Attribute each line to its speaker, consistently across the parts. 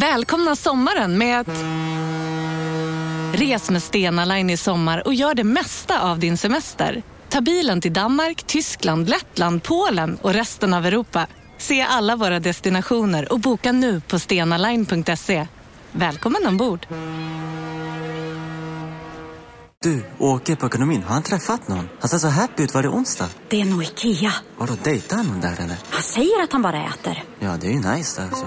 Speaker 1: Välkomna sommaren med att... Res med Stena Line i sommar och gör det mesta av din semester. Ta bilen till Danmark, Tyskland, Lettland, Polen och resten av Europa. Se alla våra destinationer och boka nu på stenaline.se. Välkommen ombord!
Speaker 2: Du, åker på ekonomin. Har han träffat någon? Han ser så happy ut. Var det onsdag?
Speaker 3: Det är nog Ikea.
Speaker 2: Har du dejtar han någon där eller?
Speaker 3: Han säger att han bara äter.
Speaker 2: Ja, det är ju nice där alltså.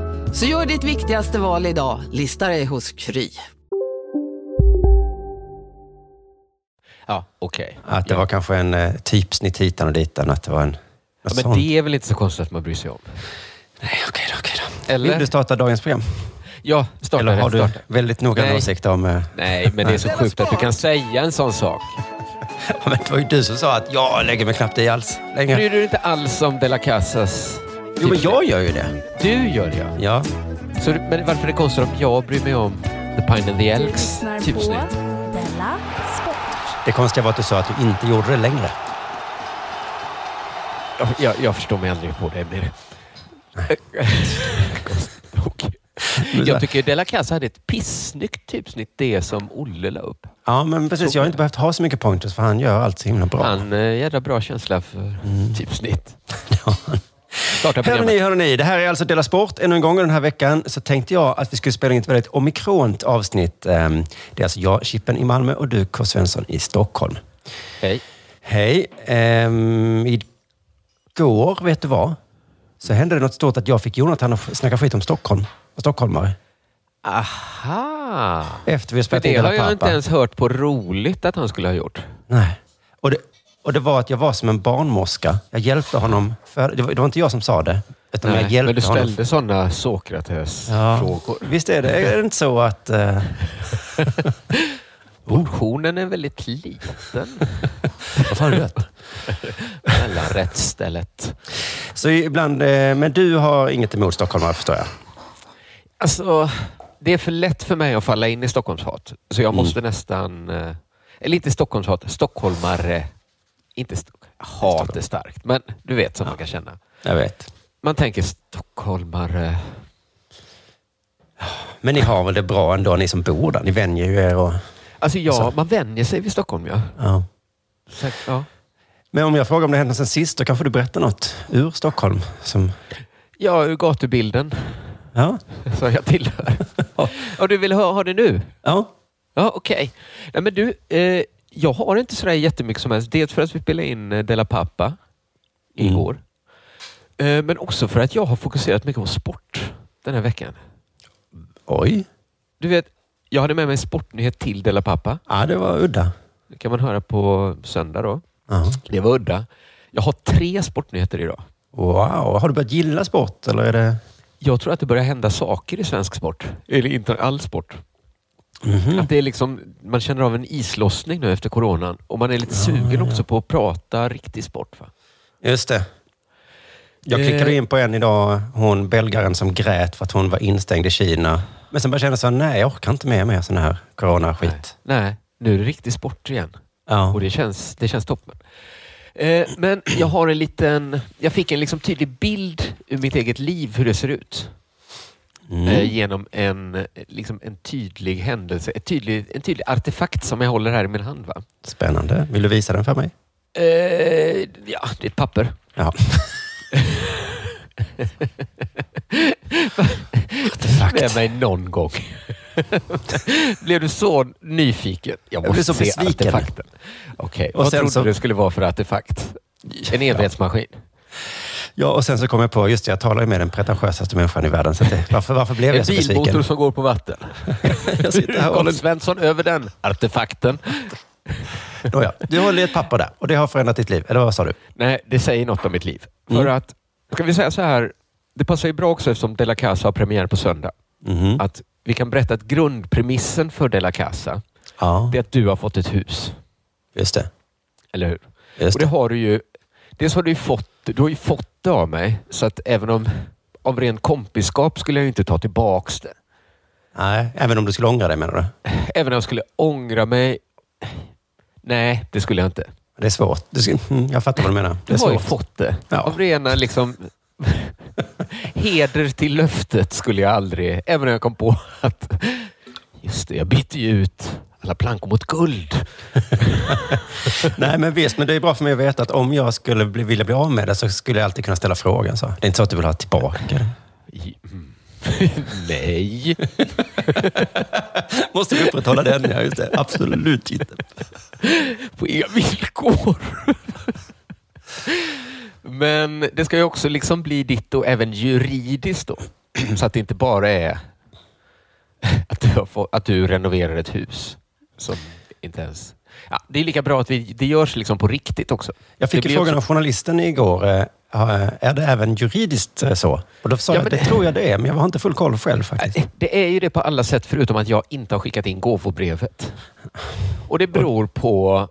Speaker 4: Så gör ditt viktigaste val idag, listar dig hos Kry.
Speaker 5: Ja, okej.
Speaker 6: Att det var kanske en eh, typsnitt hitan och ditan. Att det var en...
Speaker 5: Ja,
Speaker 6: något
Speaker 5: men
Speaker 6: sånt.
Speaker 5: det är väl inte så konstigt att man bryr sig om?
Speaker 6: Nej, okej då. Okej då.
Speaker 5: Eller?
Speaker 6: Vill du starta dagens program?
Speaker 5: Ja, starta
Speaker 6: Eller har
Speaker 5: rätt
Speaker 6: du
Speaker 5: starta.
Speaker 6: väldigt noggrann
Speaker 5: Nej.
Speaker 6: åsikt om... eh,
Speaker 5: Nej, men det är så sjukt att du kan säga en sån sak.
Speaker 6: Ja, men det var ju du som sa att jag lägger mig knappt i alls längre.
Speaker 5: Bryr du dig inte alls om De La Casas?
Speaker 6: Jo, men jag gör ju det.
Speaker 5: Du gör det ja.
Speaker 6: Ja.
Speaker 5: Så, men varför är det konstigt om jag bryr mig om The Pine and the Elks? Typ snyggt.
Speaker 7: Della Sport.
Speaker 6: Det konstiga var att du sa att du inte gjorde det längre.
Speaker 5: Jag, jag, jag förstår mig aldrig på det mer. Okej. Jag tycker De La Casa hade ett pissnyggt typsnitt, det som Olle la upp.
Speaker 6: Ja, men precis. Jag har inte behövt ha så mycket pointers för han gör allt så himla bra.
Speaker 5: Han, eh, jädra bra känsla för typsnitt. Starta
Speaker 6: Mm. Hörrni,
Speaker 5: programmet.
Speaker 6: hörrni, det här är alltså Dela Sport. Ännu en gång den här veckan så tänkte jag att vi skulle spela in ett väldigt omikront avsnitt. Ehm, Det är alltså jag, Chippen i Malmö och du, K. Svensson i Stockholm.
Speaker 5: Hej.
Speaker 6: Hej. Ehm, igår, vet du vad? Så hände det något stort att jag fick Jonathan att snacka skit om Stockholm och stockholmare.
Speaker 5: Aha!
Speaker 6: Efter vi
Speaker 5: För
Speaker 6: har spelat in
Speaker 5: det
Speaker 6: Dela
Speaker 5: har jag
Speaker 6: Pappa.
Speaker 5: inte ens hört på roligt att han skulle ha gjort.
Speaker 6: Nej. Och det, och det var att jag var som en barnmorska. Jag hjälpte honom. För, det, var, det var inte jag som sa det. Utan jag
Speaker 5: Nej,
Speaker 6: hjälpte
Speaker 5: men du
Speaker 6: honom.
Speaker 5: ställde sådana Sokrates-frågor.
Speaker 6: Visst är det? Är det inte så att... eh, Oh.
Speaker 5: Portionen är väldigt liten.
Speaker 6: Vad fan är det?
Speaker 5: Mellan rättstället.
Speaker 6: Så ibland, eh, men du har inget emot stockholmare förstår jag?
Speaker 5: Alltså, det är för lätt för mig att falla in i Stockholmshat. Så
Speaker 6: Mm.
Speaker 5: jag måste nästan... eh, Eller inte Stockholmshat, stockholmare. Inte st- hat är starkt, men du vet som man kan känna.
Speaker 6: Jag vet.
Speaker 5: Man tänker stockholmare.
Speaker 6: Men ni har väl det bra ändå, ni som bor där? Ni vänjer ju er och...
Speaker 5: Alltså ja,
Speaker 6: Så.
Speaker 5: man vänjer sig vid Stockholm. Ja.
Speaker 6: Ja.
Speaker 5: Så, ja.
Speaker 6: Men om jag frågar om det hänt något sen sist, då kanske du berättar något ur Stockholm? Som,
Speaker 5: ja, ur gatubilden
Speaker 6: ja?
Speaker 5: som jag tillhör. Och du vill ha, ha det nu?
Speaker 6: Ja.
Speaker 5: Ja, okej. Nej, men du, eh, jag har inte sådär jättemycket som helst. Dels för att vi spelade in eh, Della Pappa igår. Eh, men också för att jag har fokuserat mycket på sport den här veckan.
Speaker 6: Oj.
Speaker 5: Du vet, jag hade med mig en sportnyhet till Della Pappa.
Speaker 6: Ja, det var udda.
Speaker 5: Det kan man höra på söndag då.
Speaker 6: Ja.
Speaker 5: Det var udda. Jag har tre sportnyheter idag.
Speaker 6: Wow. Har du börjat gilla sport eller är det...
Speaker 5: Jag tror att det börjar hända saker i svensk sport. Eller inte all sport. Att det är liksom, man känner av en islossning nu efter coronan och man är lite sugen också på att prata riktig sport. Va?
Speaker 6: Just det. Jag
Speaker 5: Eh.
Speaker 6: klickade in på en idag, hon belgaren som grät för att hon var instängd i Kina. Men sen började jag känna så här, nej jag orkar inte med mer sån här coronaskit.
Speaker 5: Nej, nu är det riktig sport igen.
Speaker 6: Ja.
Speaker 5: Och det känns, det känns toppen. Eh, men jag har en liten... Jag fick en liksom tydlig bild ur mitt eget liv hur det ser ut.
Speaker 6: Mm.
Speaker 5: Eh, genom en, eh, liksom en tydlig händelse, ett tydlig, en tydlig artefakt som jag håller här i min hand. Va?
Speaker 6: Spännande. Vill du visa den för mig?
Speaker 5: Eh, ja, det är ett papper.
Speaker 6: Ja. Artefakt.
Speaker 5: med mig någon gång. blev du så nyfiken? Jag
Speaker 6: blev så
Speaker 5: måste se
Speaker 6: besviken.
Speaker 5: artefakten. Okej,
Speaker 6: Och
Speaker 5: vad
Speaker 6: sen
Speaker 5: trodde
Speaker 6: så-
Speaker 5: du det skulle vara för artefakt? En evighetsmaskin?
Speaker 6: Ja, och sen så kom jag på, just det, jag talar ju med den pretentiösaste människan i världen. Så att det, varför, varför blev
Speaker 5: En
Speaker 6: jag så
Speaker 5: bilmotor
Speaker 6: besviken?
Speaker 5: som går på vatten?
Speaker 6: Jag sitter här och
Speaker 5: Colin
Speaker 6: håller,
Speaker 5: Svensson över den artefakten.
Speaker 6: Nåja, du håller i ett papper där och det har förändrat ditt liv, eller vad sa du?
Speaker 5: Nej, det säger något om mitt liv. För
Speaker 6: Mm.
Speaker 5: att, ska vi säga så här, det passar ju bra också eftersom De La Casa har premiär på söndag.
Speaker 6: Mhm.
Speaker 5: Att vi kan berätta att grundpremissen för De La Casa,
Speaker 6: Ja,
Speaker 5: det är att du har fått ett hus.
Speaker 6: just det.
Speaker 5: Eller hur?
Speaker 6: Just
Speaker 5: Och det
Speaker 6: det.
Speaker 5: har du ju, dels har du ju fått, du har ju fått det av mig, så att även om av ren kompisskap skulle jag ju inte ta tillbaks det.
Speaker 6: Nej, även om du skulle ångra dig menar du?
Speaker 5: Även om jag skulle ångra mig. Nej, det skulle jag inte.
Speaker 6: Det är svårt. Du ska, mm, jag fattar vad du menar. Det
Speaker 5: Du
Speaker 6: är
Speaker 5: har ju
Speaker 6: svårt.
Speaker 5: fått det.
Speaker 6: Ja.
Speaker 5: Av rena liksom... Heder till löftet skulle jag aldrig... Även om jag kom på att... Just det, jag bytte ju ut alla plankor mot guld.
Speaker 6: Nej, men visst. Men det är bra för mig att veta att om jag skulle bli, vilja bli av med det så skulle jag alltid kunna ställa frågan. Så. Det är inte så att du vill ha tillbaka det.
Speaker 5: I- mm. Nej.
Speaker 6: Måste vi upprätthålla den? Ja, just det. Absolut inte.
Speaker 5: på inga villkor. Men det ska ju också liksom bli ditt och även juridiskt då. Så att det inte bara är att du, har fått, att du renoverar ett hus. Som inte ens... Ja, det är lika bra att vi, det görs liksom på riktigt också.
Speaker 6: Jag fick
Speaker 5: det
Speaker 6: ju
Speaker 5: blir
Speaker 6: frågan
Speaker 5: också-
Speaker 6: av journalisten igår. eh, har- Är det även juridiskt eh, så? Och då sa
Speaker 5: Ja,
Speaker 6: jag
Speaker 5: men
Speaker 6: att det
Speaker 5: det-
Speaker 6: tror jag det är, men jag har inte full koll själv faktiskt.
Speaker 5: Eh, Det är ju det på alla sätt förutom att jag inte har skickat in gåvobrevet. Och det beror på...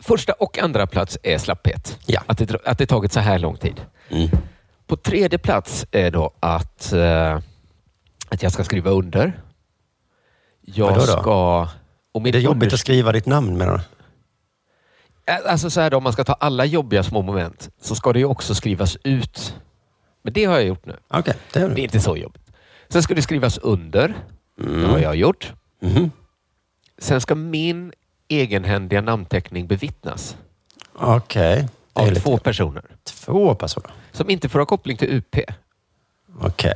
Speaker 5: Första och andra plats är slapphet.
Speaker 6: Ja.
Speaker 5: Att, det, att det tagit så här lång tid.
Speaker 6: Mm.
Speaker 5: På tredje plats är då att, eh, att jag ska skriva under. Jag
Speaker 6: Vadå då?
Speaker 5: ska... Och
Speaker 6: Är
Speaker 5: mitt
Speaker 6: det jobbigt
Speaker 5: unders-
Speaker 6: att skriva ditt namn menar du?
Speaker 5: Alltså så här då, om man ska ta alla jobbiga små moment så ska det ju också skrivas ut. Men det har jag gjort nu.
Speaker 6: Okej, det gör
Speaker 5: Det är
Speaker 6: du.
Speaker 5: inte så jobbigt. Sen ska det skrivas under.
Speaker 6: Mm.
Speaker 5: Det har jag gjort.
Speaker 6: Mhm.
Speaker 5: Sen ska min egenhändiga namnteckning bevittnas
Speaker 6: Okej. Det
Speaker 5: av
Speaker 6: är lite-
Speaker 5: två personer
Speaker 6: två personer.
Speaker 5: som inte får ha koppling till UP.
Speaker 6: Okej.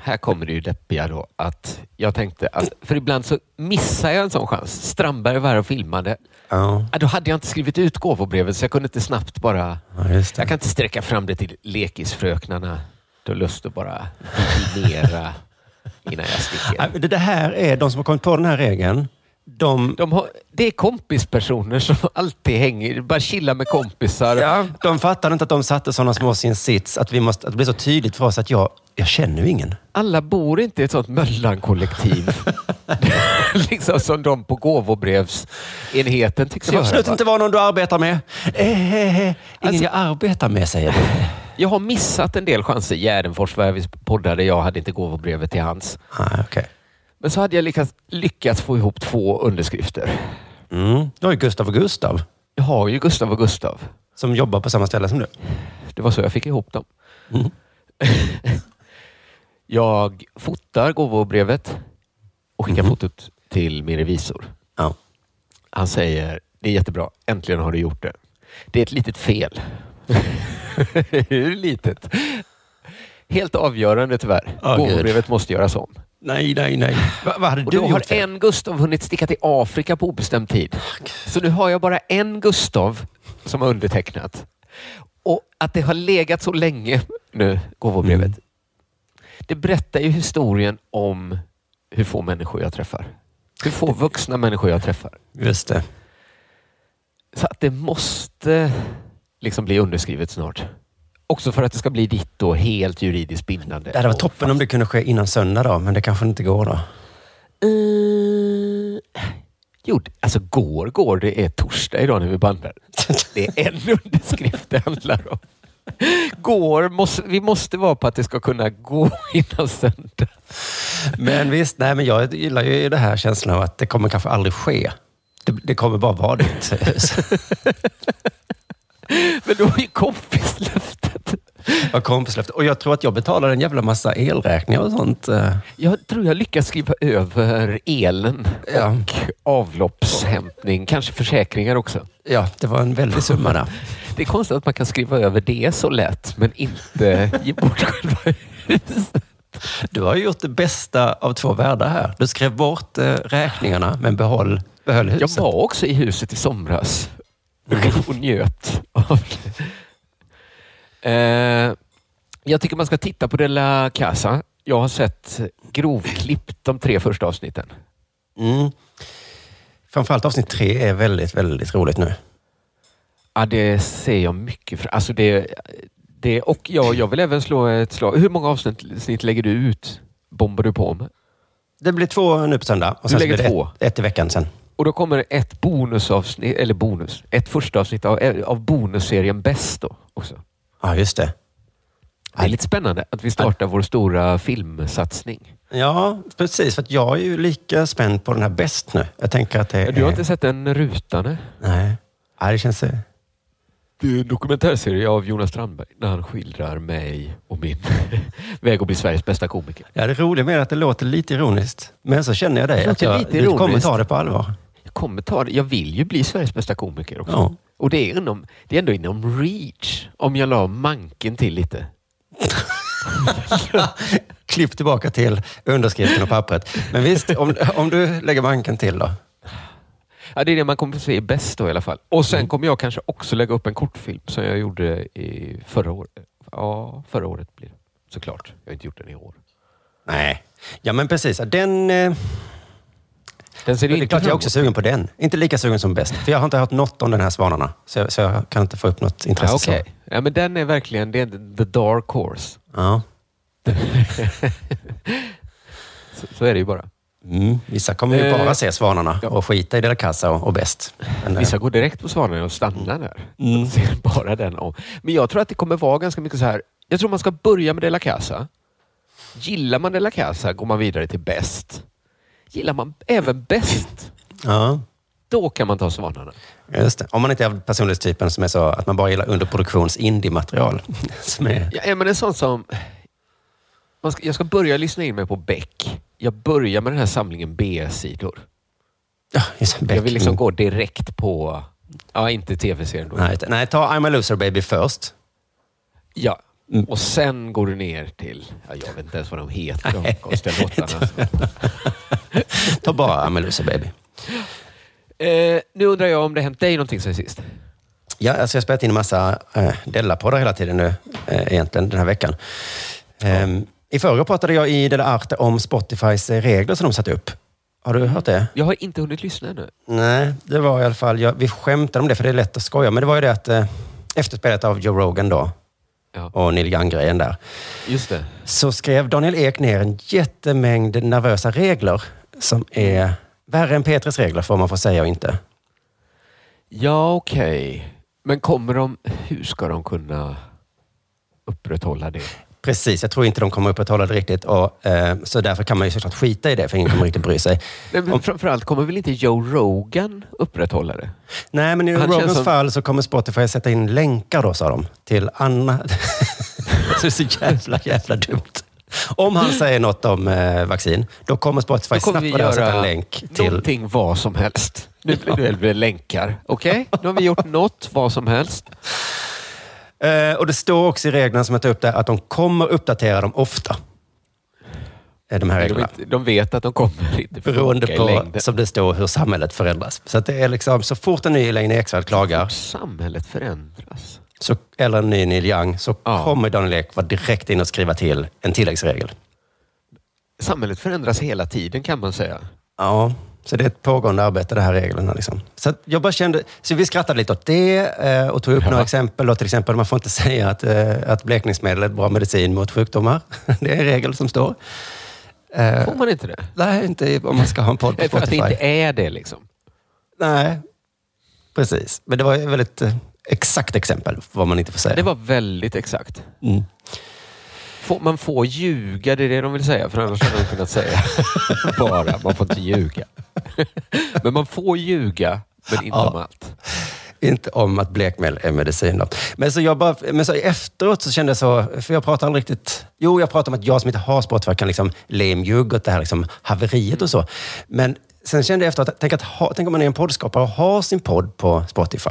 Speaker 5: Här kommer det ju deppiga då att jag tänkte att, för ibland så missar jag en sån chans. Strandberg var här och filmade.
Speaker 6: Ja,
Speaker 5: Ja, Då hade jag inte skrivit ut gåvobrevet så jag kunde inte snabbt bara...
Speaker 6: ja, just det.
Speaker 5: Jag kan inte sträcka fram det till lekisfröknarna. Du har lust att bara vidimera innan jag sticker.
Speaker 6: Nej, Äh, Det det här är, de som har kommit på den här regeln, de,
Speaker 5: De har, det är kompispersoner som alltid hänger, bara chillar med kompisar.
Speaker 6: ja, de fattar inte att de satte sådana små sin sits, att, vi måste, att det blir så tydligt för oss att jag, jag känner ju ingen.
Speaker 5: alla bor inte i ett sånt möllankollektiv. liksom som de på gåvobrevsenheten tycks
Speaker 6: Det får
Speaker 5: göra.
Speaker 6: absolut
Speaker 5: va?
Speaker 6: inte vara någon du arbetar med. Eh, eh, eh. Ingen jag arbetar med, säger du.
Speaker 5: Jag har missat en del chanser. Gärdenfors var jag visst poddade. Jag hade inte gåvobrevet till hans.
Speaker 6: Ah, okay.
Speaker 5: Men så hade jag lyckats, lyckats få ihop två underskrifter.
Speaker 6: mm. Du har ju Gustav och Gustav
Speaker 5: Jag har ju Gustav och Gustav.
Speaker 6: som jobbar på samma ställe som du.
Speaker 5: Det var så jag fick ihop dem. jag fotar gåvobrevet och skickar fotot till min revisor.
Speaker 6: Ja.
Speaker 5: Han säger, det är jättebra, äntligen har du gjort det. Det är ett litet fel. Hur litet? Helt avgörande tyvärr.
Speaker 6: Åh, Gud.
Speaker 5: Gåvobrevet måste göras om.
Speaker 6: Nej, nej, nej. Va, vad hade
Speaker 5: Och
Speaker 6: du
Speaker 5: då har
Speaker 6: gjort? Ah, En...
Speaker 5: en Gustav hunnit sticka till Afrika på obestämd tid. Så nu har jag bara en Gustav som har undertecknat. Och att det har legat så länge nu, gåvobrevet.
Speaker 6: Mm.
Speaker 5: Det berättar ju historien om hur få människor jag träffar. Hur få vuxna människor jag träffar.
Speaker 6: Just det.
Speaker 5: Så att det måste liksom bli underskrivet snart. Också för att det ska bli ditt då helt juridiskt bindande.
Speaker 6: Det hade varit toppen om det kunde ske innan söndag då, men det kanske inte går då.
Speaker 5: Eh, Jo, alltså går, går. Det är torsdag idag när vi bandar. Det är en underskrift det handlar om. Går, måste, vi måste vara på att det ska kunna gå innan söndag.
Speaker 6: Men visst, nej, men jag gillar ju det här känslan av att det kommer kanske aldrig ske. Det, det kommer bara vara ditt hus.
Speaker 5: Men då är ju kompislöftet.
Speaker 6: Jag kompislöfte. Och jag tror att jag betalar en jävla massa elräkningar och sånt. eh.
Speaker 5: Jag tror jag lyckas skriva över elen
Speaker 6: Ja.
Speaker 5: och avloppshämtning. Kanske försäkringar också.
Speaker 6: Ja, det var en väldig summa där.
Speaker 5: Det är konstigt att man kan skriva över det så lätt, men inte ge bort själva huset.
Speaker 6: Du har ju gjort det bästa av två världar här. Du skrev bort eh, räkningarna, men behåll, behöll
Speaker 5: Jag
Speaker 6: huset.
Speaker 5: var också i huset i somras och njöt av det. Eh, Jag tycker man ska titta på De La Casa. Jag har sett grovklippt de tre första avsnitten.
Speaker 6: Mm. Framförallt avsnitt tre är väldigt, väldigt roligt nu.
Speaker 5: Ja, det ser jag mycket fram Alltså det, Det, och ja, jag vill även slå ett slag. Hur många avsnitt snitt lägger du ut? Bombar du på med?
Speaker 6: Det blir två nu på söndag. Och
Speaker 5: Du lägger
Speaker 6: så blir det
Speaker 5: två.
Speaker 6: Ett, ett i veckan sen.
Speaker 5: Och då kommer ett bonusavsnitt, eller bonus, ett första avsnitt av, av bonusserien Bäst då också.
Speaker 6: Ja, just det.
Speaker 5: Det är lite spännande att vi startar vår stora filmsatsning.
Speaker 6: Ja, precis. För att jag är ju lika spänd på den här bäst nu. Jag tänker att det är...
Speaker 5: Du har inte sett en rutande?
Speaker 6: Nej. Nej, det känns... eh,
Speaker 5: Det är en dokumentärserie av Jonas Strandberg när han skildrar mig och min väg att bli Sveriges bästa komiker.
Speaker 6: Ja, det roliga med det är att det låter lite ironiskt. Men så känner jag dig.
Speaker 5: Det
Speaker 6: Att
Speaker 5: låter
Speaker 6: jag,
Speaker 5: lite
Speaker 6: du kommer
Speaker 5: ironiskt.
Speaker 6: ta det på allvar.
Speaker 5: Jag kommer ta det. Jag vill ju bli Sveriges bästa komiker också.
Speaker 6: Ja.
Speaker 5: Och det är, inom, det är ändå inom reach om jag la manken till lite.
Speaker 6: Klipp tillbaka till underskriften och pappret. Men visst, om, om du lägger manken till då.
Speaker 5: Ja, det är det man kommer att se bäst då i alla fall. Och sen kommer jag kanske också lägga upp en kortfilm som jag gjorde i förra året. Ja, förra året blir det. Såklart. Jag har inte gjort den i år.
Speaker 6: Nej. Ja, men precis. Den... Eh,
Speaker 5: Den ser
Speaker 6: det är
Speaker 5: inte
Speaker 6: klart jag är
Speaker 5: bra
Speaker 6: också
Speaker 5: ut.
Speaker 6: sugen på den. Inte lika sugen som bäst. För jag har inte hört något om den här Svanarna. Så jag, så jag kan inte få upp något intresse.
Speaker 5: Ja,
Speaker 6: så.
Speaker 5: Ah, okej. ja, men den är verkligen det är the dark horse.
Speaker 6: Ja.
Speaker 5: Så, så är det ju bara.
Speaker 6: Mm. Vissa kommer ju
Speaker 5: Eh,
Speaker 6: bara se Svanarna och skita i Delacassa och, och bäst. Men, eh,
Speaker 5: Vissa går direkt på Svanen och
Speaker 6: Mm.
Speaker 5: stannar där. Ser bara den om. Men jag tror att det kommer vara ganska mycket så här. Jag tror man ska börja med De La Casa. Gillar man De La Casa går man vidare till bäst. Gillar man även bäst,
Speaker 6: Ja,
Speaker 5: då kan man ta Svanarna.
Speaker 6: just det. Om man inte är personlighetstypen som är så att man bara gillar underproduktions indie-material. Som är,
Speaker 5: Ja, men en sån som... Man ska, jag ska börja lyssna in mig på Beck. Jag börjar med den här samlingen B-sidor.
Speaker 6: ja, just det,
Speaker 5: Jag
Speaker 6: Beck.
Speaker 5: vill liksom
Speaker 6: Mm.
Speaker 5: gå direkt på... Ja, inte tv-serien då.
Speaker 6: Nej, utan- nej, ta I'm a loser baby först.
Speaker 5: Ja.
Speaker 6: Mm.
Speaker 5: Och sen går du ner till... Ja, jag vet inte ens vad de heter, de konstiga låtarna.
Speaker 6: Ta bara I'm a loser baby.
Speaker 5: Eh, nu undrar jag om det hänt dig någonting sen sist?
Speaker 6: Ja, alltså jag har spelat in en massa eh, Della-poddar hela tiden nu, eh, egentligen, den här veckan. Ehm, I förrgår pratade jag i Della Arte om Spotifys eh, regler som de satt upp. Har du hört det?
Speaker 5: Jag har inte hunnit lyssna ännu.
Speaker 6: Nej, det var i alla fall... Jag, vi skämtade om det, för det är lätt att skoja. Men det var ju det att eh, efter spelet av Joe Rogan då,
Speaker 5: Ja,
Speaker 6: och Neil Young-grejen där,
Speaker 5: just det.
Speaker 6: så skrev Daniel Ek ner en jättemängd nervösa regler som är värre än Petris regler, för vad man får säga och inte.
Speaker 5: Ja, okej. Men kommer de... Hur ska de kunna upprätthålla det?
Speaker 6: Precis, jag tror inte de kommer upprätthålla det riktigt. Och, eh, så därför kan man ju såklart skita i det, för ingen kommer riktigt bry sig.
Speaker 5: Nej, men
Speaker 6: Om-
Speaker 5: framförallt kommer väl inte Joe Rogan upprätthålla det?
Speaker 6: Nej, men i
Speaker 5: Han känns
Speaker 6: Rogans
Speaker 5: som-
Speaker 6: fall så kommer Spotify sätta in länkar då, sa de, till Anna. så det är så jävla, jävla dumt. Om han säger något om eh, vaccin, då kommer Spotify
Speaker 5: Då kommer
Speaker 6: snabbt
Speaker 5: vi
Speaker 6: vara där och sätta en
Speaker 5: göra
Speaker 6: länk till...
Speaker 5: någonting vad som helst. Nu blir det väl länkar. Okej, nu har vi gjort något vad som helst.
Speaker 6: Eh, och det står också i reglerna som jag tar upp där att de kommer uppdatera dem ofta. Eh, De här
Speaker 5: De,
Speaker 6: reglerna.
Speaker 5: inte, de vet att de kommer inte funka
Speaker 6: Beroende
Speaker 5: i
Speaker 6: på,
Speaker 5: längden.
Speaker 6: som det står, hur samhället förändras. Så att det är liksom, så fort en ny Elaine Eksvärd klagar,
Speaker 5: Samhället förändras.
Speaker 6: så, eller en ny Neil Young, så
Speaker 5: Ja.
Speaker 6: kommer Daniel Ek vara direkt in och skriva till en tilläggsregel.
Speaker 5: Samhället förändras hela tiden kan man säga.
Speaker 6: Ja, så det är ett pågående arbete, de här reglerna. Liksom. Så att jag bara kände, så vi skrattade lite åt det eh, och tog upp några exempel. Då, till exempel, man får inte säga att, eh, att blekningsmedel är ett bra medicin mot sjukdomar. Det är en regel som står.
Speaker 5: Får man inte det?
Speaker 6: Nej, inte om man ska ha en podd på
Speaker 5: Eh. För att det
Speaker 6: Spotify.
Speaker 5: inte är det liksom.
Speaker 6: Nej, precis. Men det var ett väldigt eh, exakt exempel på vad man inte får säga.
Speaker 5: Det var väldigt exakt.
Speaker 6: Mm.
Speaker 5: Får, man får ljuga, det är det de vill säga. För annars hade de kunnat säga bara, man får inte ljuga. Men man får ljuga, men inte om allt.
Speaker 6: Inte om att blekmedel är medicin. Då. Men, så jag bara, men så efteråt så kände jag så, för jag pratar aldrig riktigt... Jo, jag pratar om att jag som inte har Spotify kan liksom le om ljugg åt det här liksom haveriet och så. Men sen kände jag efteråt, att, tänk, att ha, tänk om man är en poddskapare och har sin podd på Spotify.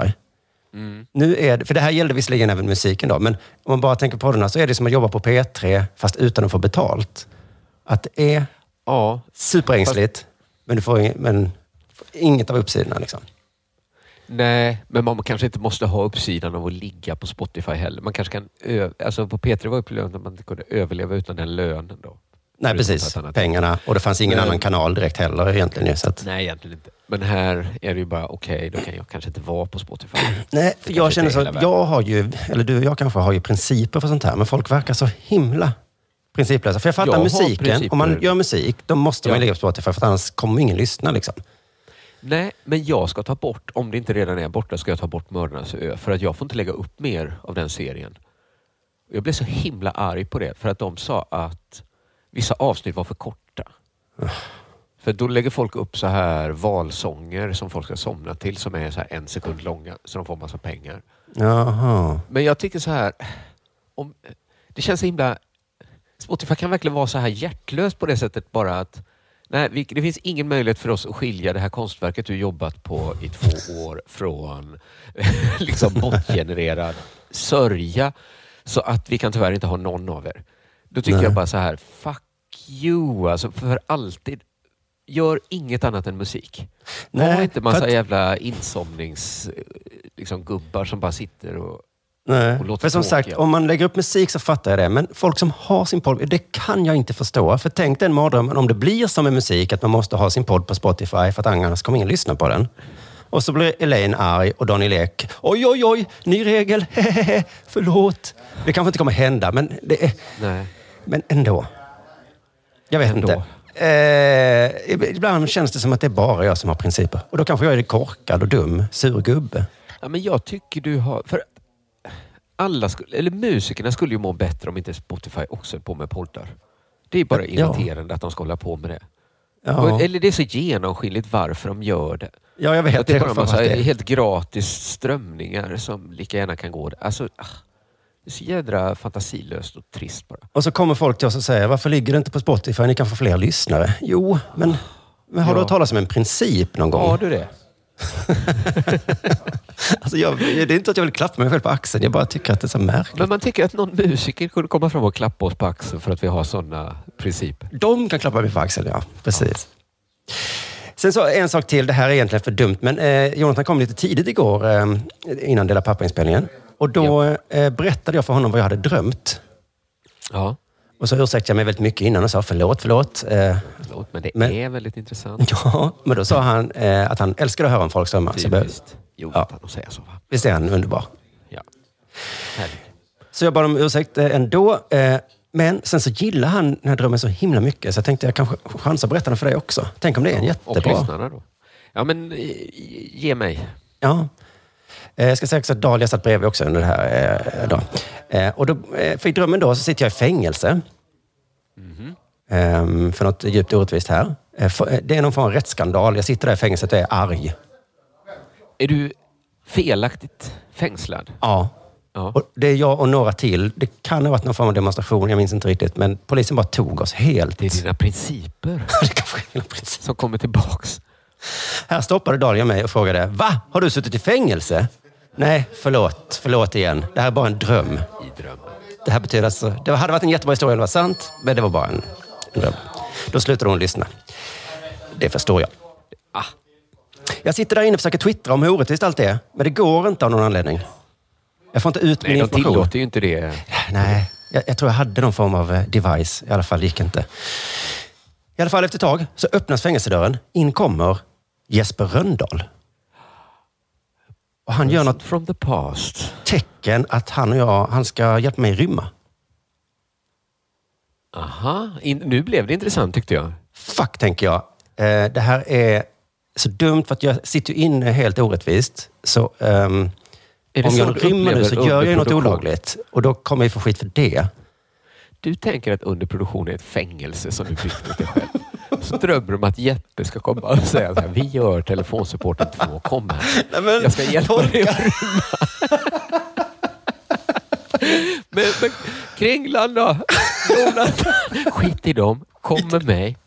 Speaker 6: Nu är det, för det här gällde visserligen även musiken då, men om man bara tänker på poddarna så är det som att jobba på P3 fast utan att få betalt. Att det är
Speaker 5: Ja,
Speaker 6: superängsligt, men du får ing- men, inget av uppsidorna. Liksom.
Speaker 5: Nej, men man kanske inte måste ha uppsidan av att ligga på Spotify heller. Man kanske kan ö- alltså på P3 var upplevt att man inte kunde överleva utan den lönen då.
Speaker 6: Nej,
Speaker 5: Förutom
Speaker 6: precis.
Speaker 5: att han har-
Speaker 6: Pengarna. Och det fanns ingen
Speaker 5: Men-
Speaker 6: annan kanal direkt heller egentligen. ju, Så att,
Speaker 5: Nej, egentligen inte. Men här är det ju bara, okej, då kan jag kanske inte vara på Spotify.
Speaker 6: nej, för jag
Speaker 5: kanske
Speaker 6: känner
Speaker 5: inte
Speaker 6: så
Speaker 5: är hela
Speaker 6: att jag har ju, eller du och jag kanske har ju principer för sånt här, men folk verkar så himla principlösa. För jag fattar
Speaker 5: Jag har
Speaker 6: musiken.
Speaker 5: principer.
Speaker 6: Om man gör musik, då måste man
Speaker 5: Ja.
Speaker 6: ju ligga på Spotify, för att annars kommer ingen lyssna. Liksom.
Speaker 5: Nej, men jag ska ta bort, om det inte redan är borta, ska jag ta bort Mördarnas ö. För att jag får inte lägga upp mer av den serien. Jag blev så himla arg på det, för att de sa att vissa avsnitt var för korta. För då lägger folk upp så här valsånger som folk ska somna till, som är så här en sekund långa, så de får massa pengar.
Speaker 6: Jaha.
Speaker 5: Men jag tycker så här, om, det känns så himla... Spotify kan verkligen vara så här hjärtlös på det sättet bara att nej, vi, det finns ingen möjlighet för oss att skilja det här konstverket du jobbat på i två år från liksom bortgenererad sörja. Så att vi kan tyvärr inte ha någon av er. Då tycker
Speaker 6: Nej.
Speaker 5: jag bara så här, fuck you alltså för alltid. Gör inget annat än musik.
Speaker 6: Nej,
Speaker 5: Nej, inte
Speaker 6: Äh, för
Speaker 5: massa
Speaker 6: att-
Speaker 5: jävla insomningsgubbar liksom, gubbar som bara sitter och
Speaker 6: Nej.
Speaker 5: Och låter
Speaker 6: För som
Speaker 5: tråkiga.
Speaker 6: sagt, om man lägger upp musik så fattar jag det. Men folk som har sin podd, det kan jag inte förstå. För tänk den mardrömmen om det blir som med musik, att man måste ha sin podd på Spotify för att annars kommer ingen lyssna på den. Och så blir Elaine arg och Daniel Ek, oj, oj, oj, ny regel, hehehe, förlåt. Det kanske inte kommer hända, men, det är,
Speaker 5: Nej.
Speaker 6: men ändå. Jag vet
Speaker 5: Ändå.
Speaker 6: inte. Eh, ibland känns det som att det är bara jag som har principer. Och då kanske jag är korkad och dum, surgubbe.
Speaker 5: Ja, men jag tycker du har... För alla skulle, eller musikerna skulle ju må bättre om inte Spotify också höll på med poddar. Det är bara
Speaker 6: Ja.
Speaker 5: irriterande att de ska hålla på med det.
Speaker 6: Ja,
Speaker 5: Och, eller det är så genomskinligt varför de gör det.
Speaker 6: ja jag vet.
Speaker 5: Att det är bara en
Speaker 6: fan
Speaker 5: massa
Speaker 6: vad det är.
Speaker 5: helt gratis strömningar som lika gärna kan gå. Alltså, ah, det är så jädra fantasilöst och trist bara.
Speaker 6: Och så kommer folk till oss och säger, varför ligger det inte på Spotify? Ni kan få fler lyssnare. Jo, men, men har du
Speaker 5: Ja.
Speaker 6: hört talas om en princip någon gång?
Speaker 5: Har du det?
Speaker 6: Alltså jag, det är inte att jag vill klappa mig själv på axeln. Jag bara tycker att det är så märkligt.
Speaker 5: Men man tycker att någon musiker kunde komma fram och klappa oss på axeln för att vi har sådana principer.
Speaker 6: De kan klappa mig på axeln, ja. Precis. Sen så en sak till. Det här är egentligen för dumt, men eh, Jonathan kom lite tidigt igår eh, innan Dela pappa-inspelningen. Och då eh, berättade jag för honom vad jag hade drömt.
Speaker 5: Ja,
Speaker 6: Och så ursäktade jag mig väldigt mycket innan och sa förlåt, förlåt. Eh,
Speaker 5: förlåt, men det
Speaker 6: Men-
Speaker 5: är väldigt intressant.
Speaker 6: ja, men då sa han eh, att han älskar att höra om alltså, folks drömmar.
Speaker 5: Alltså,
Speaker 6: Så jag behöver-
Speaker 5: Typiskt Jonathan att säga så. Va?
Speaker 6: Visst är han underbar?
Speaker 5: Ja. Härligt.
Speaker 6: Så jag bad om ursäkt eh, ändå. eh, Men sen så gillar han den här drömmen så himla mycket så jag tänkte jag kanske chansar att berätta den för dig också. Tänk om det är en
Speaker 5: Och
Speaker 6: jättebra.
Speaker 5: lyssnarna då. Ja, men eh, ge mig.
Speaker 6: Ja. Eh, Jag ska säga också att Dahlia satt bredvid också under det här. eh, Då. Eh, Och då, eh, för i drömmen då så sitter jag i fängelse.
Speaker 5: Mhm.
Speaker 6: Ehm, För något djupt orättvist här. Eh, för- eh, Det är någon form av rättsskandal. Jag sitter där i fängelset och är arg.
Speaker 5: Är du felaktigt fängslad?
Speaker 6: Ja.
Speaker 5: Ja.
Speaker 6: Och det är jag och några till. Det kan ha varit någon form av demonstration, jag minns inte riktigt. Men polisen bara tog oss helt.
Speaker 5: Det är dina principer
Speaker 6: Det kanske är hela principen.
Speaker 5: som kommer tillbaks.
Speaker 6: Här stoppade Dahlia mig och frågade, va? Har du suttit i fängelse? Nej, förlåt. Förlåt igen. Det här är bara en dröm.
Speaker 5: I drömmen.
Speaker 6: Det här betyder alltså, det hade varit en jättebra historia om det var sant, men det var bara en, en dröm. Då slutade hon lyssna. Det förstår jag.
Speaker 5: Ah.
Speaker 6: Jag sitter där inne och försöker twittra om hur orättvist allt är, men det går inte av någon anledning. Jag får inte ut min
Speaker 5: Nej, de
Speaker 6: information.
Speaker 5: tillåter ju inte det.
Speaker 6: Nej, jag, jag tror jag hade någon form av eh, device. I alla fall gick inte. I alla fall efter ett tag så öppnas fängelsedörren. In kommer Jesper Röndahl. Och han gör något
Speaker 5: From the past.
Speaker 6: tecken att han och jag, han ska hjälpa mig rymma.
Speaker 5: Aha, in, nu blev det intressant tyckte jag.
Speaker 6: Fuck, tänker jag. Eh, det här är så dumt för att jag sitter ju inne helt orättvist. Så ehm,
Speaker 5: Är det
Speaker 6: om
Speaker 5: så
Speaker 6: jag
Speaker 5: du
Speaker 6: rymmer nu
Speaker 5: upplever
Speaker 6: så gör jag ju något
Speaker 5: underproduktion?
Speaker 6: olagligt. Och då kommer jag få skit för det.
Speaker 5: Du tänker att underproduktion är ett fängelse som du byggt åt dig själv. Så drömmer du om att Jeppe ska komma och säga så här, vi gör telefonsupporten 2, kom här. Jag ska hjälpa dig att rymma. men, men Kringland då? Jonathan? Skit i dem, kom med mig.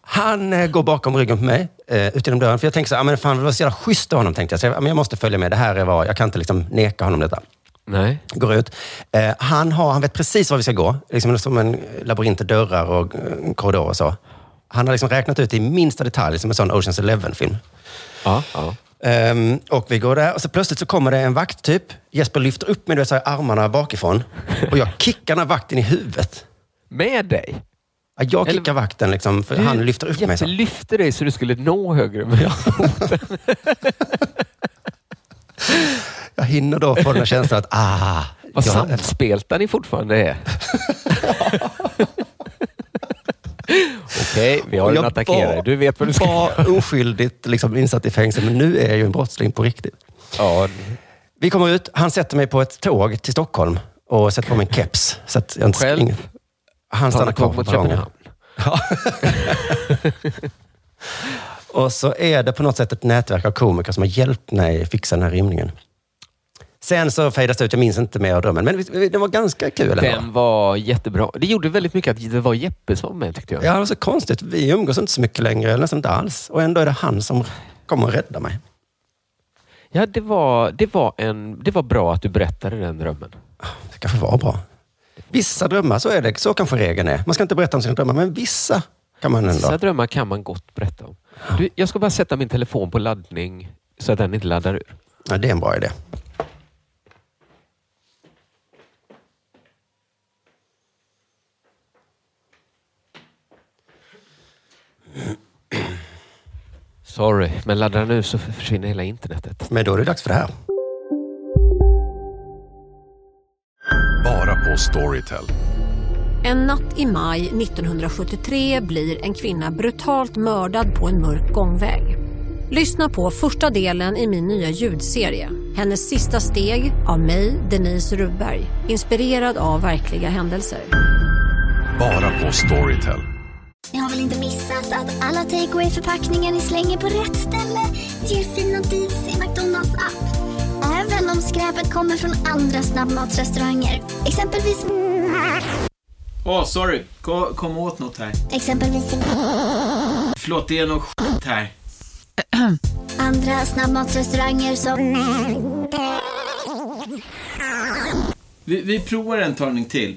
Speaker 6: Han eh, går bakom ryggen på mig, eh, ut genom dörren. För jag tänker så här, ah, men fan, det var så jävla schysst av honom, tänkte jag. Så jag, ah, men jag måste följa med. Det här är vad, jag kan inte liksom neka honom detta.
Speaker 5: Nej.
Speaker 6: Går ut. Eh, han, har, han vet precis var vi ska gå. Liksom som en labyrint av dörrar och eh, en korridor och så. Han har liksom räknat ut i minsta detalj, som en sån Oceans Eleven-film.
Speaker 5: Ja, ja.
Speaker 6: Ehm, och vi går där och så plötsligt så kommer det en vakt typ. Jesper lyfter upp mig, du vet, så här, armarna bakifrån. Och jag kickar den här vakten i huvudet.
Speaker 5: Med dig?
Speaker 6: Ja, jag kickar
Speaker 5: Eller-
Speaker 6: vakten liksom, för han lyfter upp mig.
Speaker 5: Jeppe
Speaker 6: Så.
Speaker 5: lyfte dig så du skulle nå högre med
Speaker 6: Jag hinner då få den här känslan att, ah,
Speaker 5: Vad
Speaker 6: jag,
Speaker 5: samspelta ni fortfarande är. Okej, vi har en
Speaker 6: Jag
Speaker 5: attackerare.
Speaker 6: var-
Speaker 5: Du vet vad du ska göra.
Speaker 6: var oskyldigt liksom, insatt i fängelse, men nu är jag ju en brottsling på riktigt.
Speaker 5: Ja,
Speaker 6: Vi kommer ut, han sätter mig på ett tåg till Stockholm och sätter på mig en keps. Så att jag inte
Speaker 5: Själv?
Speaker 6: ingen- Han
Speaker 5: ta
Speaker 6: stannar
Speaker 5: en
Speaker 6: kvar
Speaker 5: tåg
Speaker 6: på
Speaker 5: mot
Speaker 6: perrongen.
Speaker 5: Köpenhamn.
Speaker 6: Och så är det på något sätt ett nätverk av komiker som har hjälpt mig fixa den här rymningen. Sen så fejdas det ut, jag minns inte mer av drömmen, men vi- vi- den var ganska kul. ändå.
Speaker 5: Den var jättebra. Det gjorde väldigt mycket att det var Jeppe som var med tyckte jag.
Speaker 6: Ja, det var så konstigt. Vi umgås inte så mycket längre, eller nästan inte alls. Och ändå är det han som kommer och räddar mig.
Speaker 5: Ja, det var, det var, en, det var bra att du berättade den drömmen.
Speaker 6: Det kanske var bra. Vissa drömmar, så är det. Så kanske regeln är. Man ska inte berätta om sina drömmar, men vissa kan man
Speaker 5: Vissa
Speaker 6: ändå.
Speaker 5: drömmar kan man gott berätta om. Du, jag ska bara sätta min telefon på laddning så att den inte laddar ur.
Speaker 6: Ja, det är en bra idé.
Speaker 5: Sorry, men laddar den ur så försvinner hela internetet.
Speaker 6: Men då är det dags för det här.
Speaker 8: Bara på Storytel.
Speaker 9: En natt i maj 1973 blir en kvinna brutalt mördad på en mörk gångväg. Lyssna på första delen i min nya ljudserie. Hennes sista steg av mig, Denise Rubberg. Inspirerad av verkliga händelser.
Speaker 8: Bara på Storytel.
Speaker 7: Ni har väl inte missat att alla takeaway förpackningar ni slänger på rätt ställe ger fina deals i McDonalds app. Även om skräpet kommer från andra snabbmatsrestauranger. Exempelvis...
Speaker 10: Åh, sorry. Kom, kom åt något här.
Speaker 7: Exempelvis...
Speaker 10: Förlåt, det är något skit här.
Speaker 7: Andra snabbmatsrestauranger som...
Speaker 10: Vi, vi provar en talning till.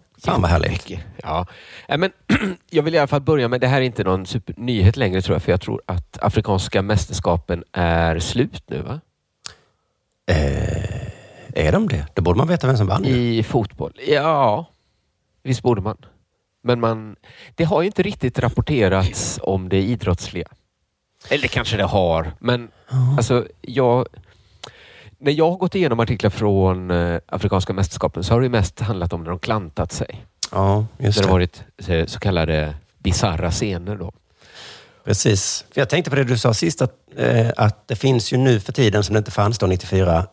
Speaker 6: fan vad härligt.
Speaker 5: Mycket. Ja. Nej, Men jag vill i alla fall börja med, det här är inte någon supernyhet längre tror jag, för jag tror att Afrikanska mästerskapen är slut nu va?
Speaker 6: Eh, Är de det? Då borde man veta vem som vann.
Speaker 5: I fotboll? Ja, visst borde man. Men man, det har ju inte riktigt rapporterats om det idrottsliga. Eller kanske det har, men alltså jag... När jag har gått igenom artiklar från eh, Afrikanska mästerskapen så har det ju mest handlat om när de klantat sig.
Speaker 6: Ja, just
Speaker 5: Där det
Speaker 6: det.
Speaker 5: har varit eh, så kallade bisarra scener då.
Speaker 6: Precis. För jag tänkte på det du sa sist, att, eh, att det finns ju nu för tiden, som det inte fanns då 94,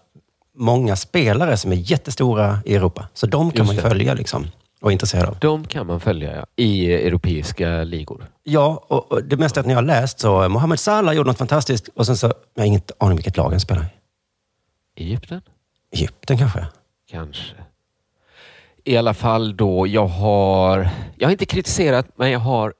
Speaker 6: många spelare som är jättestora i Europa. Så de kan
Speaker 5: Just
Speaker 6: man ju
Speaker 5: det.
Speaker 6: följa liksom, och intressera av.
Speaker 5: De kan man följa ja, i eh, europeiska ligor.
Speaker 6: Ja, och, och det mesta att ni har läst så eh, Mohamed Salah gjorde något fantastiskt och sen så, jag har ingen aning vilket lag han spelar i.
Speaker 5: Egypten?
Speaker 6: Egypten kanske?
Speaker 5: Kanske. I alla fall då, jag har... Jag har inte kritiserat, men jag har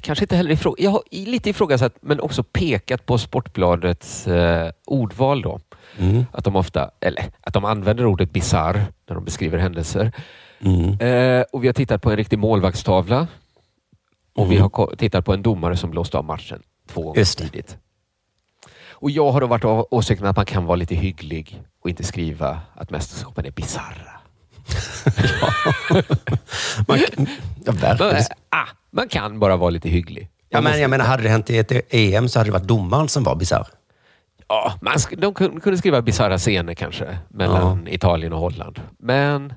Speaker 5: kanske inte heller ifrå, jag har i- lite ifrågasatt, men också pekat på Sportbladets eh, ordval. då.
Speaker 6: Mm.
Speaker 5: Att de ofta, eller att de använder ordet bizarr när de beskriver händelser.
Speaker 6: Mm.
Speaker 5: Eh, och Vi har tittat på en riktig målvaktstavla och vi har ko- tittat på en domare som blåste av matchen två gånger
Speaker 6: Mm. Just det.
Speaker 5: tidigt. Och jag har då varit av åsikten att man kan vara lite hygglig och inte skriva att mästerskapen är bisarra.
Speaker 6: Man, ja,
Speaker 5: Men,
Speaker 6: verkligen.
Speaker 5: ah, man kan bara vara lite hygglig.
Speaker 6: Ja, men, jag menar, hade det hänt i ett EM så hade det varit domaren som var bisarr.
Speaker 5: Ja, man sk- de kun- kunde skriva bisarra scener kanske mellan Italien och Holland. Men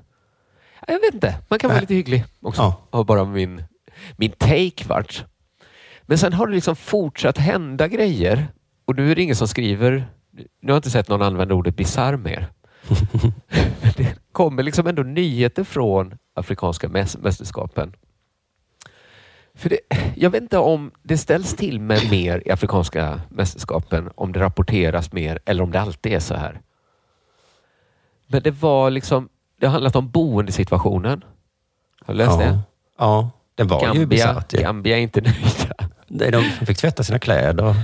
Speaker 5: ja, jag vet inte. Man kan vara
Speaker 6: Nej.
Speaker 5: lite hygglig också.
Speaker 6: Ja.
Speaker 5: Har bara min, min take vart. Men sen har det liksom fortsatt hända grejer och nu är det ingen som skriver. Nu har jag inte sett någon använda ordet bisarr mer. Men det kommer liksom ändå nyheter från Afrikanska mäs- mästerskapen. För det, jag vet inte om det ställs till med mer i Afrikanska mästerskapen, om det rapporteras mer eller om det alltid är så här. Men det var liksom, det har handlat om boendesituationen. Har du läst
Speaker 6: ja.
Speaker 5: det?
Speaker 6: Ja, det var ju
Speaker 5: Gambia-
Speaker 6: bisarrt. ju.
Speaker 5: Gambia är inte nöjda.
Speaker 6: Nej, De fick tvätta sina kläder. och-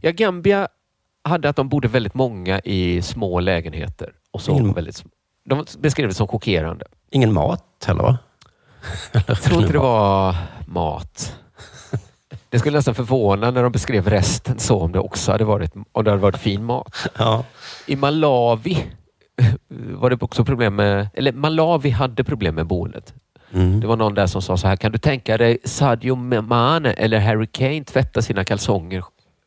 Speaker 5: Ja, Gambia hade att de bodde väldigt många i små lägenheter. Och så
Speaker 6: Ingen-
Speaker 5: väldigt sm- de beskrev det som chockerande.
Speaker 6: Ingen mat heller, va?
Speaker 5: Jag tror inte det var mat. Det skulle nästan förvåna när de beskrev resten så om det också hade varit, om det hade varit fin mat.
Speaker 6: Ja.
Speaker 5: I Malawi var det också problem med, eller Malawi hade problem med boendet.
Speaker 6: Mm.
Speaker 5: Det var någon där som sa så här, kan du tänka dig Sadio Mane eller Harry Kane tvätta sina kalsonger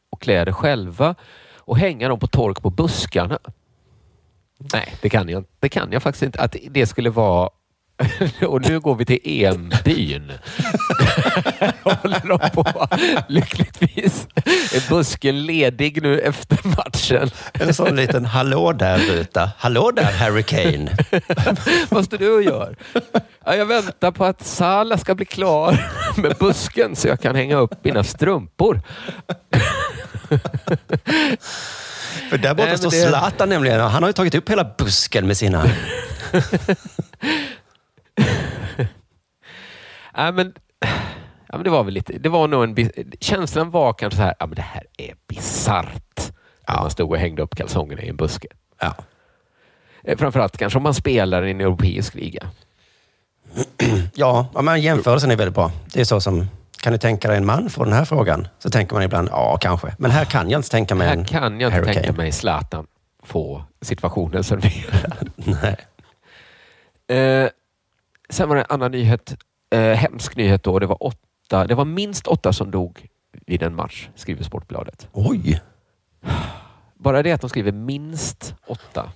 Speaker 5: och kläder själva och hänga dem på tork på buskarna? Nej, det kan jag, det kan jag faktiskt inte. Att det skulle vara... Och nu går vi till EM-byn. håller de på, lyckligtvis. Är busken ledig nu efter matchen?
Speaker 6: En sån liten hallå där-ruta. Hallå där, Harry Kane.
Speaker 5: Vad står du och gör? Ja, jag väntar på att Sala ska bli klar med busken så jag kan hänga upp mina strumpor.
Speaker 6: För där borta
Speaker 5: Nej, men
Speaker 6: står
Speaker 5: det-
Speaker 6: Zlatan nämligen. Han har ju tagit upp hela busken med sina...
Speaker 5: Ja, men, ja, men det var väl lite... Det var nog en, bi- känslan var kanske så här, ja, men det här är bisarrt. När man stod och hängde upp kalsongerna i en buske.
Speaker 6: Ja.
Speaker 5: Eh, Framförallt kanske om man spelar i en europeisk liga.
Speaker 6: Ja, ja, men jämförelsen är väldigt bra. Det är så som... Kan du tänka dig en man får den här frågan? Så tänker man ibland, ja kanske. Men här kan jag inte tänka mig en
Speaker 5: Här kan jag inte
Speaker 6: Harry
Speaker 5: tänka
Speaker 6: Kane.
Speaker 5: mig Zlatan få situationen serverad.
Speaker 6: Nej.
Speaker 5: Eh, sen var det en annan nyhet. Eh, hemsk nyhet då. Det var, åtta, det var minst åtta som dog vid en match, skriver Sportbladet.
Speaker 6: Oj!
Speaker 5: Bara det att de skriver minst åtta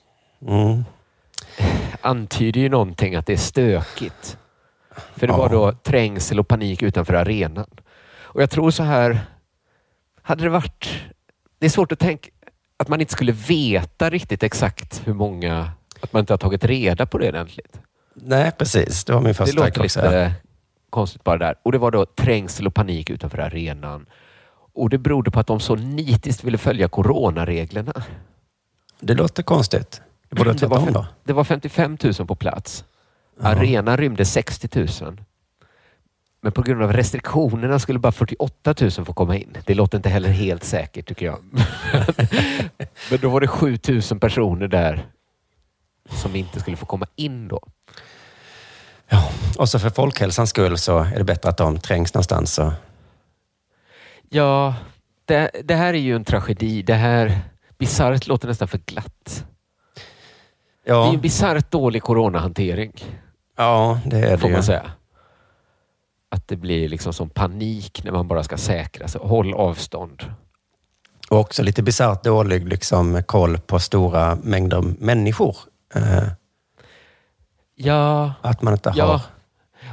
Speaker 6: Mm.
Speaker 5: antyder ju någonting att det är stökigt. För det
Speaker 6: Ja.
Speaker 5: var då trängsel och panik utanför arenan. Och jag tror så här, hade det varit... Det är svårt att tänka att man inte skulle veta riktigt exakt hur många... Att man inte har tagit reda på det ordentligt.
Speaker 6: Nej, precis. Det var min
Speaker 5: Det
Speaker 6: första
Speaker 5: låter
Speaker 6: tanke också.
Speaker 5: lite konstigt bara där. Och det var då trängsel och panik utanför arenan. Och det berodde på att de så nitiskt ville följa coronareglerna.
Speaker 6: Det låter konstigt. Det borde jag
Speaker 5: Det
Speaker 6: tvätta
Speaker 5: var,
Speaker 6: om
Speaker 5: fem-
Speaker 6: då.
Speaker 5: det var 55 000 på plats. Arenan rymde 60 000. Men på grund av restriktionerna skulle bara 48 000 få komma in. Det låter inte heller helt säkert tycker jag. Men då var det 7 000 personer där som inte skulle få komma in då.
Speaker 6: Och så för folkhälsans skull så är det bättre att de trängs någonstans. Så.
Speaker 5: Ja, det, det här är ju en tragedi. Det här bisarrt låter nästan för glatt. Det är ju
Speaker 6: Ja,
Speaker 5: en bisarrt dålig coronahantering,
Speaker 6: ja, det är det
Speaker 5: eh, får
Speaker 6: ju.
Speaker 5: man säga. Att det blir liksom som panik när man bara ska säkra sig. Håll avstånd.
Speaker 6: Och också lite bisarrt dålig liksom, koll på stora mängder människor. Eh,
Speaker 5: Ja,
Speaker 6: att man inte har...
Speaker 5: ja.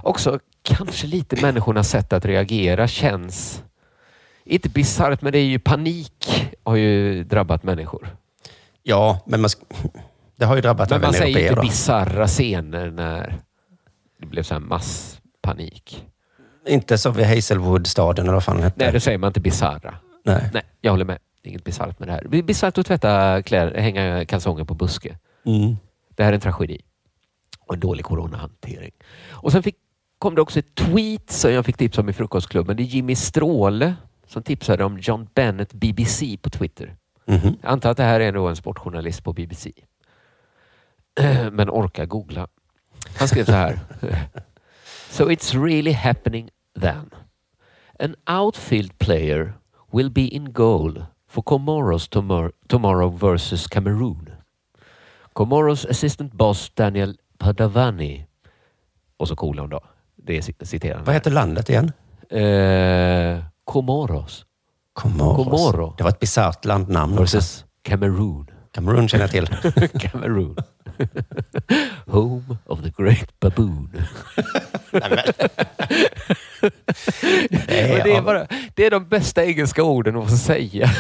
Speaker 5: Också kanske lite människornas sätt att reagera känns... Inte bisarrt, men det är ju panik har ju drabbat människor.
Speaker 6: Ja, men man, sk- det har ju drabbat
Speaker 5: Men
Speaker 6: även
Speaker 5: man säger ju
Speaker 6: européer.
Speaker 5: inte
Speaker 6: Då.
Speaker 5: bisarra scener när det blev så här masspanik.
Speaker 6: Inte som vid Hazelwood-staden eller vad fan den hette.
Speaker 5: Nej, då säger man inte bisarra.
Speaker 6: Nej.
Speaker 5: Nej, jag håller med. Det är inget bisarrt med det här. Det är bisarrt att tvätta kläder, hänga kalsonger på buske.
Speaker 6: Mm.
Speaker 5: Det här är en tragedi. Och en dålig coronahantering. Och sen fick, kom det också ett tweet som jag fick tips om i Frukostklubben. Det är Jimmy Stråle som tipsade om John Bennett BBC på Twitter.
Speaker 6: Mhm.
Speaker 5: Jag antar att det här är nog en sportjournalist på BBC. Men orka googla. Han skrev så här. So it's really happening then. An outfield player will be in goal for Comoros tomor- tomorrow versus Cameroon. Comoros assistant boss Daniel Padavani. Och så kolon då. Det är cit- citerar
Speaker 6: Vad
Speaker 5: han.
Speaker 6: heter landet igen?
Speaker 5: Eh, Comoros
Speaker 6: Komoros.
Speaker 5: Komoro.
Speaker 6: Det var ett bisarrt landnamn. också.
Speaker 5: versus Cameroon.
Speaker 6: Kamerun känner jag till.
Speaker 5: Cameroon. Home of the great baboon.
Speaker 6: Nej,
Speaker 5: Men det,
Speaker 6: ja.
Speaker 5: är bara, det är de bästa engelska orden att få säga.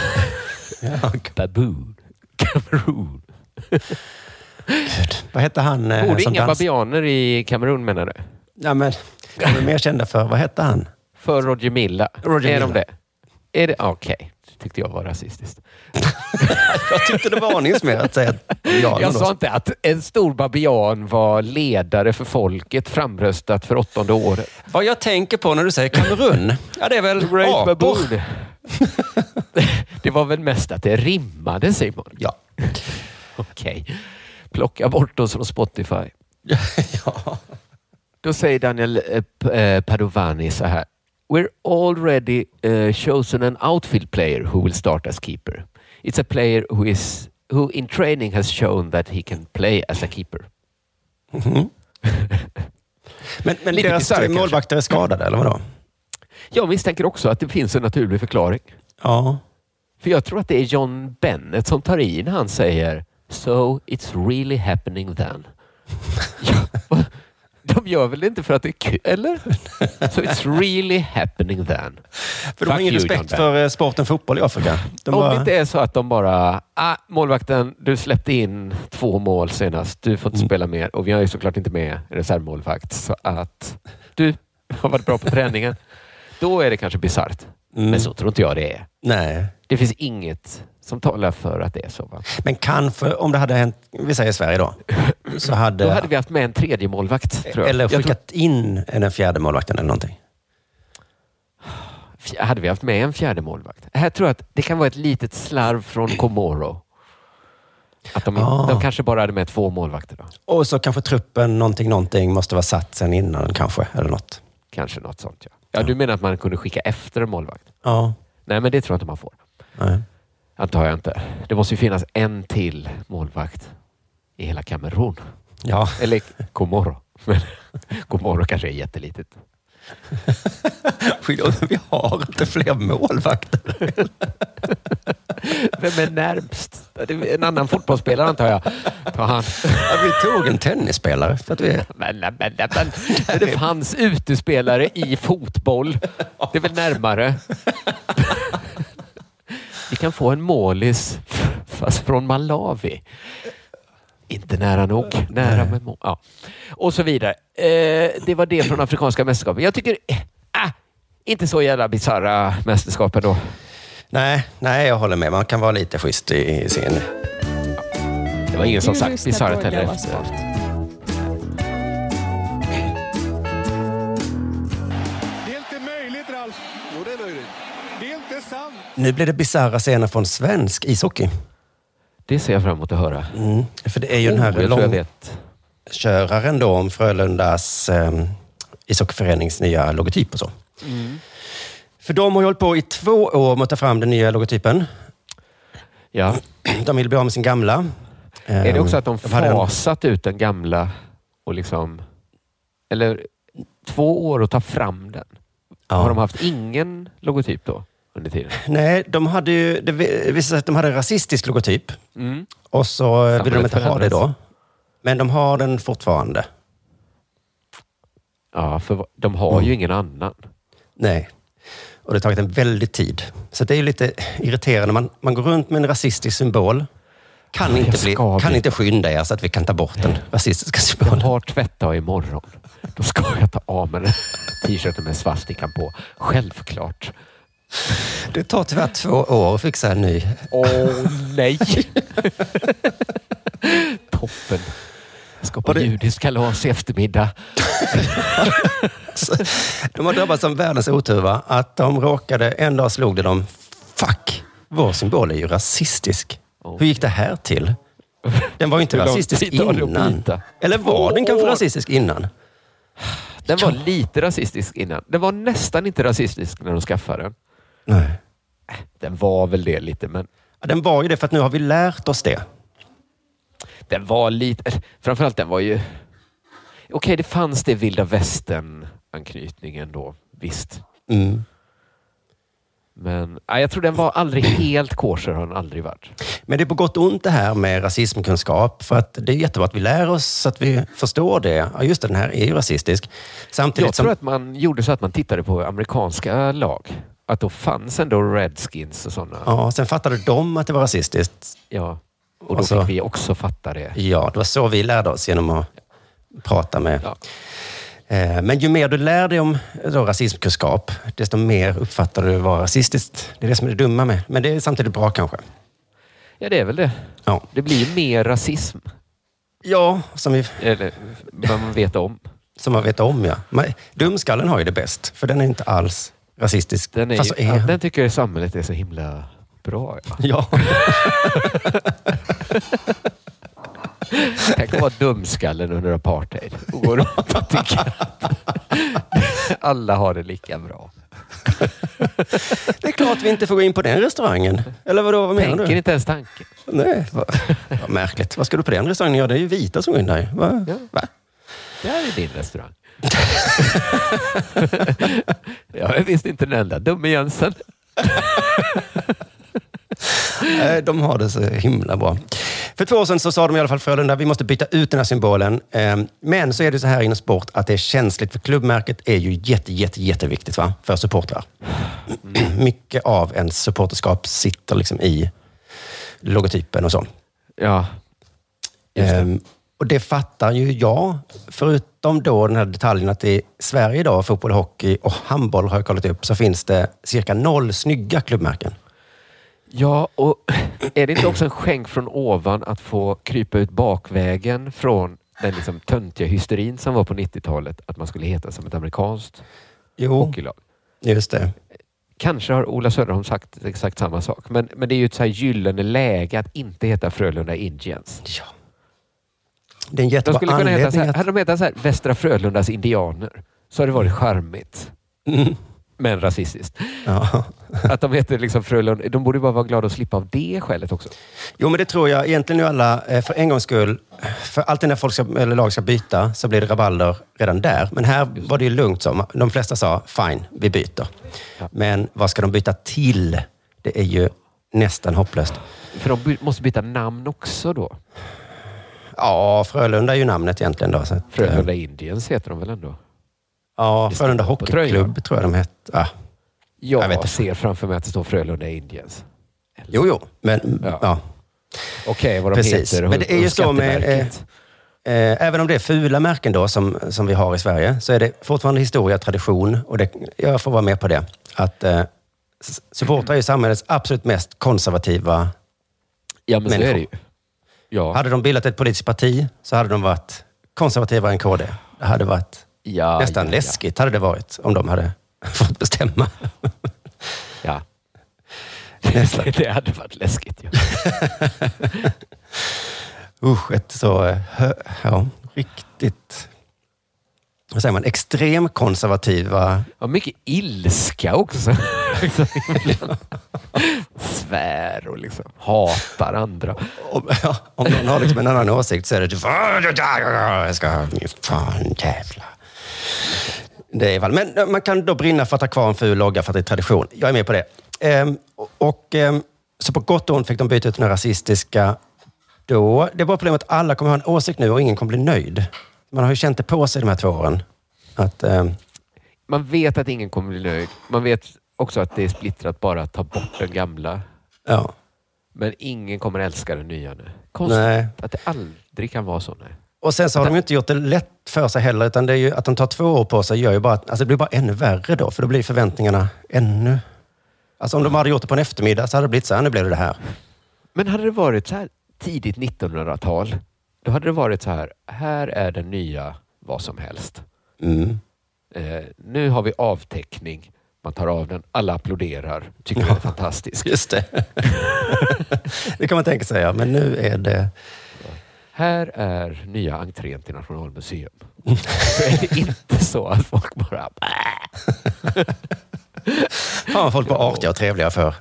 Speaker 6: Ja,
Speaker 5: Baboon. Kamerun.
Speaker 6: gud. Vad hette han eh,
Speaker 5: Borde
Speaker 6: som
Speaker 5: inga
Speaker 6: dans...
Speaker 5: babianer i Kamerun menar du?
Speaker 6: Nej, men de är mer kända för... Vad hette han?
Speaker 5: För Roger Milla.
Speaker 6: Roger
Speaker 5: är
Speaker 6: Milla.
Speaker 5: de det? Är det? Okej. tyckte jag var rasistiskt.
Speaker 6: Jag tyckte det var aningsmed att säga att babianen
Speaker 5: Jag
Speaker 6: då-
Speaker 5: sa inte att en stor babian var ledare för folket, framröstat för åttonde året.
Speaker 6: Vad jag tänker på när du säger Kamerun, ja det är väl
Speaker 5: Great
Speaker 6: apor.
Speaker 5: baboon. det var väl mest att det rimmade, Simon.
Speaker 6: Ja.
Speaker 5: Okej. Plocka bort oss från Spotify.
Speaker 6: ja.
Speaker 5: Då säger Daniel eh, P- eh, Padovani så här. We're already eh, chosen an outfield player who will start as keeper. It's a player who is who in training has shown that he can play as a keeper.
Speaker 6: Mhm. Men, men
Speaker 5: Lite
Speaker 6: deras
Speaker 5: bisarr,
Speaker 6: målvakter är skadade, eller vadå?
Speaker 5: Jag misstänker också att det finns en naturlig förklaring.
Speaker 6: Ja.
Speaker 5: För jag tror att det är John Bennett som tar i när han säger So it's really happening then. ja, va? de gör väl inte för att det är kul, eller? So it's really happening then.
Speaker 6: För de har
Speaker 5: Fuck
Speaker 6: ingen
Speaker 5: you, John
Speaker 6: respekt
Speaker 5: Bennett.
Speaker 6: för eh, sporten fotboll i Afrika. De
Speaker 5: Om
Speaker 6: bara-
Speaker 5: det inte är så att de bara, ah, målvakten, du släppte in två mål senast. Du
Speaker 6: Mm.
Speaker 5: får inte spela mer och vi har ju såklart inte med reservmålvakt. Så att du har varit bra på träningen. Då är det kanske bisarrt.
Speaker 6: Mm.
Speaker 5: Men så tror inte jag det är.
Speaker 6: Nej.
Speaker 5: Det finns inget som talar för att det är så. Va?
Speaker 6: Men kanske, om det hade hänt, vi säger Sverige då, så hade...
Speaker 5: Då hade vi haft med en tredje målvakt. Tror jag.
Speaker 6: eller
Speaker 5: jag tror,
Speaker 6: skickat in den fjärde målvakten eller någonting.
Speaker 5: fj- hade vi haft med en fjärde målvakt? Här tror jag att det kan vara ett litet slarv från Komoro. Att de,
Speaker 6: Ah.
Speaker 5: de kanske bara hade med två målvakter. Då.
Speaker 6: Och så kanske truppen någonting, någonting måste vara satt sen innan kanske, eller något.
Speaker 5: Kanske något sånt. Ja. Ja, du menar att man kunde skicka efter en målvakt?
Speaker 6: Ja.
Speaker 5: Nej, men det tror jag inte man får.
Speaker 6: Nej.
Speaker 5: Antar jag inte. Det måste ju finnas en till målvakt i hela Kamerun.
Speaker 6: Ja.
Speaker 5: Eller Komoro. Men Komoro kanske är jättelitet.
Speaker 6: Vi har inte fler målvakter.
Speaker 5: Vem är närmst? Det är En annan fotbollsspelare antar jag. Ta han.
Speaker 6: Ja, vi tog en tennisspelare. För att vi...
Speaker 5: Men, men, men, men. Det fanns utespelare i fotboll. Det är väl närmare. Vi kan få en målis, fast från Malawi. Inte nära nog. Nära men må- ja. Och så vidare. Eh, det var det från Afrikanska mästerskapen. Jag tycker... eh, Ah, inte så jävla bisarra mästerskap ändå.
Speaker 6: Nej, nej, jag håller med. Man kan vara lite schysst i, i sin...
Speaker 5: Det var ingen som sagt bisarrt heller. efter.
Speaker 8: Det är inte möjligt, Ralf. Jo, det är möjligt. Det är inte sant.
Speaker 6: Nu blir det bisarra scener från svensk ishockey.
Speaker 5: Det ser jag fram emot att höra.
Speaker 6: Mm. För det är ju den
Speaker 5: Oh,
Speaker 6: här
Speaker 5: jag tror jag vet.
Speaker 6: långköraren då om Frölundas eh, ishockeyförenings nya logotyp och så.
Speaker 5: Mm.
Speaker 6: För de har ju hållit på i två år med att ta fram den nya logotypen.
Speaker 5: Ja.
Speaker 6: De vill bli av med sin gamla. Ehm,
Speaker 5: Är det också att de
Speaker 6: hade en-
Speaker 5: fasat ut den gamla och liksom... Eller två år att ta fram den?
Speaker 6: Ja.
Speaker 5: Har de haft ingen logotyp då under tiden?
Speaker 6: Nej, de hade ju... Det visade sig att de hade en rasistisk logotyp.
Speaker 5: Mm.
Speaker 6: Och så ville de inte ha
Speaker 5: förändras.
Speaker 6: det då. Men de har den fortfarande.
Speaker 5: Ja, för va- de har
Speaker 6: Mm.
Speaker 5: ju ingen annan.
Speaker 6: Nej. Och det har tagit en väldig tid. Så det är ju lite irriterande. Man, man går runt med en rasistisk symbol. Kan inte, bli,
Speaker 5: ska
Speaker 6: kan
Speaker 5: bli-
Speaker 6: inte skynda er så att vi kan ta bort den rasistiska
Speaker 5: Jag
Speaker 6: symbolen.
Speaker 5: har tvättdag imorgon. Då ska jag ta av mig den här t-shirten med svastikan på. Självklart.
Speaker 6: Det tar tyvärr två år att fixa en ny.
Speaker 5: Åh nej! Toppen. Jag ska på
Speaker 6: Och det-
Speaker 5: judisk kalas i eftermiddag.
Speaker 6: Så De har drabbats av världens otur, va? Att de råkade... En dag slog det dem. Fuck! Vår symbol är ju rasistisk. Hur gick det här till? Den var ju inte
Speaker 5: Hur lång
Speaker 6: rasistisk
Speaker 5: tid tar det att
Speaker 6: innan.
Speaker 5: byta?
Speaker 6: Eller var den kanske
Speaker 5: År.
Speaker 6: rasistisk innan?
Speaker 5: Den var lite rasistisk innan. Den var nästan inte rasistisk när de skaffade den.
Speaker 6: Nej.
Speaker 5: Den var väl det lite, men
Speaker 6: Ja, Den var ju det, för att nu har vi lärt oss det.
Speaker 5: den var lite... eh, Framförallt den var ju... Okej, det fanns det vilda västern-anknytningen då. Visst.
Speaker 6: Mm.
Speaker 5: Men nej, jag tror den var aldrig helt kosher. Har den aldrig varit.
Speaker 6: Men det är på gott och ont det här med rasismkunskap. För att det är jättebra att vi lär oss så att vi förstår det. Ja, just det, den här är ju rasistisk. Samtidigt
Speaker 5: Jag
Speaker 6: som...
Speaker 5: tror att man gjorde så att man tittade på amerikanska lag. Att då fanns ändå redskins och sådana. Ja.
Speaker 6: Ja, sen fattade de att det var rasistiskt.
Speaker 5: Och då
Speaker 6: Och så-
Speaker 5: fick vi också fatta det.
Speaker 6: Ja, det var så vi lärde oss genom att prata med
Speaker 5: Ja.
Speaker 6: Eh, Men ju mer du lär dig om då, rasismkunskap, desto mer uppfattar du vad rasistiskt. Det är det som är det dumma med. Men det är samtidigt bra kanske.
Speaker 5: Ja, det är väl det.
Speaker 6: Ja.
Speaker 5: Det blir ju mer rasism.
Speaker 6: Ja, som, vi,
Speaker 5: Eller vad man vet om.
Speaker 6: som man vet om ja. Man, dumskallen har ju det bäst, för den är inte alls rasistisk.
Speaker 5: Den, är
Speaker 6: Fast så
Speaker 5: ju,
Speaker 6: är
Speaker 5: ja,
Speaker 6: han.
Speaker 5: den tycker jag samhället är så himla bra. Ja.
Speaker 6: Ja.
Speaker 5: Tänk att vara dumskallen under apartheid och gå runt och tycka att alla har det lika bra.
Speaker 6: Det är klart vi inte får gå in på den restaurangen. Eller vadå, vad menar
Speaker 5: Tänker
Speaker 6: du?
Speaker 5: inte ens tanken.
Speaker 6: Nej, vad, vad märkligt. Vad ska du på den restaurangen? Ja, det är ju vita som går in där. Va?
Speaker 5: Ja.
Speaker 6: Va?
Speaker 5: Det här är din restaurang. jag är visst inte den enda dumme Jensen.
Speaker 6: Nej, de har det så himla bra. För två år sedan så sa de i alla fall Frölunda, vi måste byta ut den här symbolen. Eh, Men så är det så här inom sport att det är känsligt, för klubbmärket är ju jätte, jätte, jätteviktigt va? för supportrar.
Speaker 5: Mm.
Speaker 6: Mycket av ens supporterskap sitter liksom i logotypen och så.
Speaker 5: Ja, Just det.
Speaker 6: Ehm, och det fattar ju jag, förutom då den här detaljen att i Sverige idag, fotboll, hockey och handboll har jag kollat upp, så finns det cirka noll snygga klubbmärken.
Speaker 5: Ja, och är det inte också en skänk från ovan att få krypa ut bakvägen från den liksom töntiga hysterin som var på 90-talet, att man skulle heta som ett amerikanskt
Speaker 6: Jo,
Speaker 5: hockeylag?
Speaker 6: just det.
Speaker 5: Kanske har Ola Söderholm sagt exakt samma sak, men, men det är ju ett så här gyllene läge att inte heta Frölunda Indians.
Speaker 6: Ja. Det är en
Speaker 5: De
Speaker 6: jättebra
Speaker 5: skulle kunna heta så
Speaker 6: anledning
Speaker 5: här,
Speaker 6: att...
Speaker 5: hade de hetat så här, Västra Frölundas Indianer, så hade det varit charmigt.
Speaker 6: Mm.
Speaker 5: Men rasistiskt.
Speaker 6: Ja.
Speaker 5: Att de heter liksom Frölunda, de borde ju bara vara glada att slippa av det skälet också.
Speaker 6: Jo, men det tror jag egentligen nu alla, eh, för en gångs skull. För alltid när folk ska, eller lag ska byta så blir det rabalder redan där. Men här var det ju lugnt. Som. De flesta sa, fine, vi byter. Men vad ska de byta till? Det är ju nästan hopplöst.
Speaker 5: För de by- måste byta namn också då.
Speaker 6: Ja, Frölunda är ju namnet egentligen då. Så att, eh,
Speaker 5: Frölunda Indians heter de väl ändå?
Speaker 6: Ja,
Speaker 5: Det står
Speaker 6: Frölunda
Speaker 5: på tröjan.
Speaker 6: Hockeyklubb tror jag de hette. Ah.
Speaker 5: Jag,
Speaker 6: Jag vet inte.
Speaker 5: ser framför mig att det står Frölunda Indians.
Speaker 6: Jo, jo, men
Speaker 5: Ja.
Speaker 6: ja.
Speaker 5: Okej, vad de
Speaker 6: Precis.
Speaker 5: heter. och-
Speaker 6: Men det är ju
Speaker 5: och
Speaker 6: så med,
Speaker 5: skattemärket.
Speaker 6: Eh, även om det är fula märken då som, som vi har i Sverige, så är det fortfarande historia, tradition och det, jag får vara med på det. Att eh, s- supportrar är ju samhällets absolut mest konservativa.
Speaker 5: ja, men så är det ju.
Speaker 6: människor.
Speaker 5: Ja,
Speaker 6: Hade de bildat ett politiskt parti så hade de varit konservativare än KD. Det hade varit
Speaker 5: ja,
Speaker 6: nästan
Speaker 5: ja,
Speaker 6: läskigt hade det varit om de hade fått bestämma.
Speaker 5: Ja.
Speaker 6: Nästan.
Speaker 5: det hade varit läskigt. Ja.
Speaker 6: Usch, ett så... eh, hö, ja, riktigt... Vad säger man? Extrem konservativa
Speaker 5: Ja, mycket ilska också. Liksom ibland. Svär och liksom hatar andra.
Speaker 6: Om, ja, om någon har liksom en annan åsikt så är det "Fan, det där, jag ska, fan jävla. Det är väl, men eh, man kan då brinna för att ha kvar en ful logga för att det är tradition. Jag är med på det. Ehm, och, ehm, så på gott och ont fick de byta ut den här rasistiska då. Det är bara problemet att alla kommer ha en åsikt nu och ingen kommer bli nöjd. Man har ju känt det på sig de här två åren. Att, ehm,
Speaker 5: Man vet att ingen kommer bli nöjd. Man vet också att det är splittrat bara att ta bort den gamla.
Speaker 6: ja.
Speaker 5: Men ingen kommer älska den nya nu. Konstigt
Speaker 6: Nej.
Speaker 5: att det aldrig kan vara så. Nej.
Speaker 6: Och sen så har de ju inte gjort det lätt för sig heller, utan det är ju att de tar två år på sig gör ju bara att alltså det blir bara ännu värre då, för då blir förväntningarna ännu... Alltså om de hade gjort det på en eftermiddag så hade det blivit så här, nu blev det det här.
Speaker 5: Men hade det varit så här tidigt 1900-tal, då hade det varit så här, här är den nya vad som helst.
Speaker 6: Mm.
Speaker 5: Eh, nu har vi avteckning, man tar av den, alla applåderar, tycker den är fantastisk.
Speaker 6: Just det. det kan man tänka sig, ja. Men nu är det...
Speaker 5: Här är nya entrén till Nationalmuseum. Så är det inte så att folk bara...
Speaker 6: Fan vad folk var artiga och trevliga för.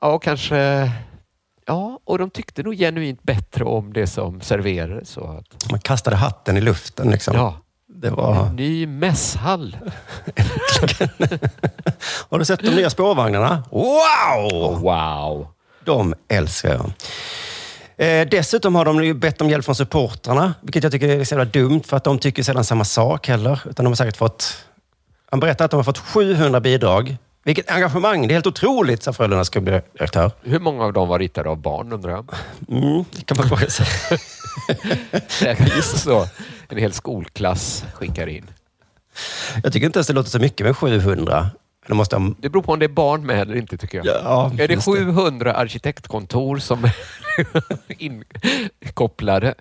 Speaker 5: Ja, kanske... Ja, och de tyckte nog genuint bättre om det som serverades. Så att,
Speaker 6: Man kastade hatten i luften liksom.
Speaker 5: ja,
Speaker 6: Det var...
Speaker 5: ny mässhall.
Speaker 6: Har du sett de nya spårvagnarna? Wow!
Speaker 5: Wow!
Speaker 6: De älskar jag. Eh, dessutom har de ju bett om hjälp från supportrarna, vilket jag tycker är så jävla dumt, för att de tycker sällan samma sak heller. Utan de har säkert fått... Han berättar att de har fått 700 bidrag. Vilket engagemang! Det är helt otroligt, sa Frölundas klubbdirektör.
Speaker 5: Hur många av dem var ritade av barn undrar jag?
Speaker 6: Mm, det kan man fråga sig.
Speaker 5: Säkert så. En hel skolklass skickar in.
Speaker 6: Jag tycker inte ens det låter så mycket med 700. Det, måste ha...
Speaker 5: det beror på om det är barn med eller inte tycker jag.
Speaker 6: Ja,
Speaker 5: är det
Speaker 6: just det.
Speaker 5: 700 arkitektkontor som är inkopplade?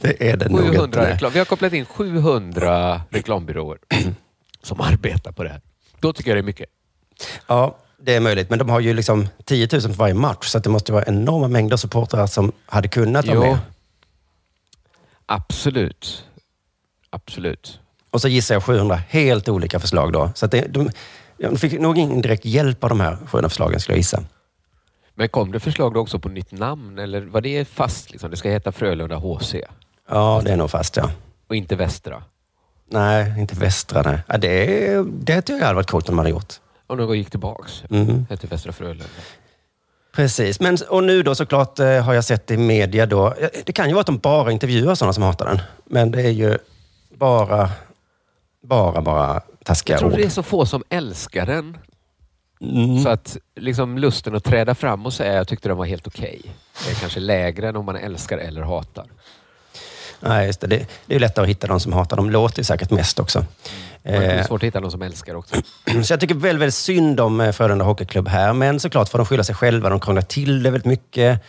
Speaker 6: det är det nog inte.
Speaker 5: 700
Speaker 6: nej.
Speaker 5: reklam. Vi har kopplat in 700 reklambyråer som arbetar på det här. Då tycker jag det är mycket.
Speaker 6: Ja, det är möjligt. Men de har ju liksom 10 000 för varje match, så att det måste vara enorma mängder supportrar som hade kunnat vara
Speaker 5: Jo.
Speaker 6: med.
Speaker 5: Absolut. Absolut.
Speaker 6: Och så gissar jag 700 helt olika förslag då. Så att det, de, de fick nog ingen direkt hjälp av de här 700 förslagen, skulle jag gissa.
Speaker 5: Men kom det förslag då också på nytt namn eller var det fast? Liksom? Det ska heta Frölunda HC
Speaker 6: Ja, det är nog fast, ja.
Speaker 5: och inte Västra.
Speaker 6: Nej, inte Västra. Nej. Ja, det, det tycker jag hade varit coolt om de hade gjort.
Speaker 5: Om de gick tillbaks.
Speaker 6: Mm.
Speaker 5: Hette Västra Frölunda.
Speaker 6: Precis. Men, och nu då såklart eh, har jag sett i media då. ja, Det kan ju vara att de bara intervjuar sådana som hatar den. Men det är ju bara, bara, bara
Speaker 5: Jag
Speaker 6: taskiga
Speaker 5: tror
Speaker 6: ord.
Speaker 5: det är så få som älskar den.
Speaker 6: Mm.
Speaker 5: Så att liksom lusten att träda fram och säga jag tyckte den var helt okej. Det är kanske lägre än om man älskar eller hatar.
Speaker 6: Nej, just det. Det, det är ju lättare att hitta de som hatar. De låter ju säkert mest också.
Speaker 5: Men Det är
Speaker 6: Eh,
Speaker 5: svårt att hitta någon som älskar också.
Speaker 6: så jag tycker väldigt, väldigt synd om eh, Frölunda Hockeyklubb här. Men såklart får de skylla sig själva. De krånglar till det väldigt mycket.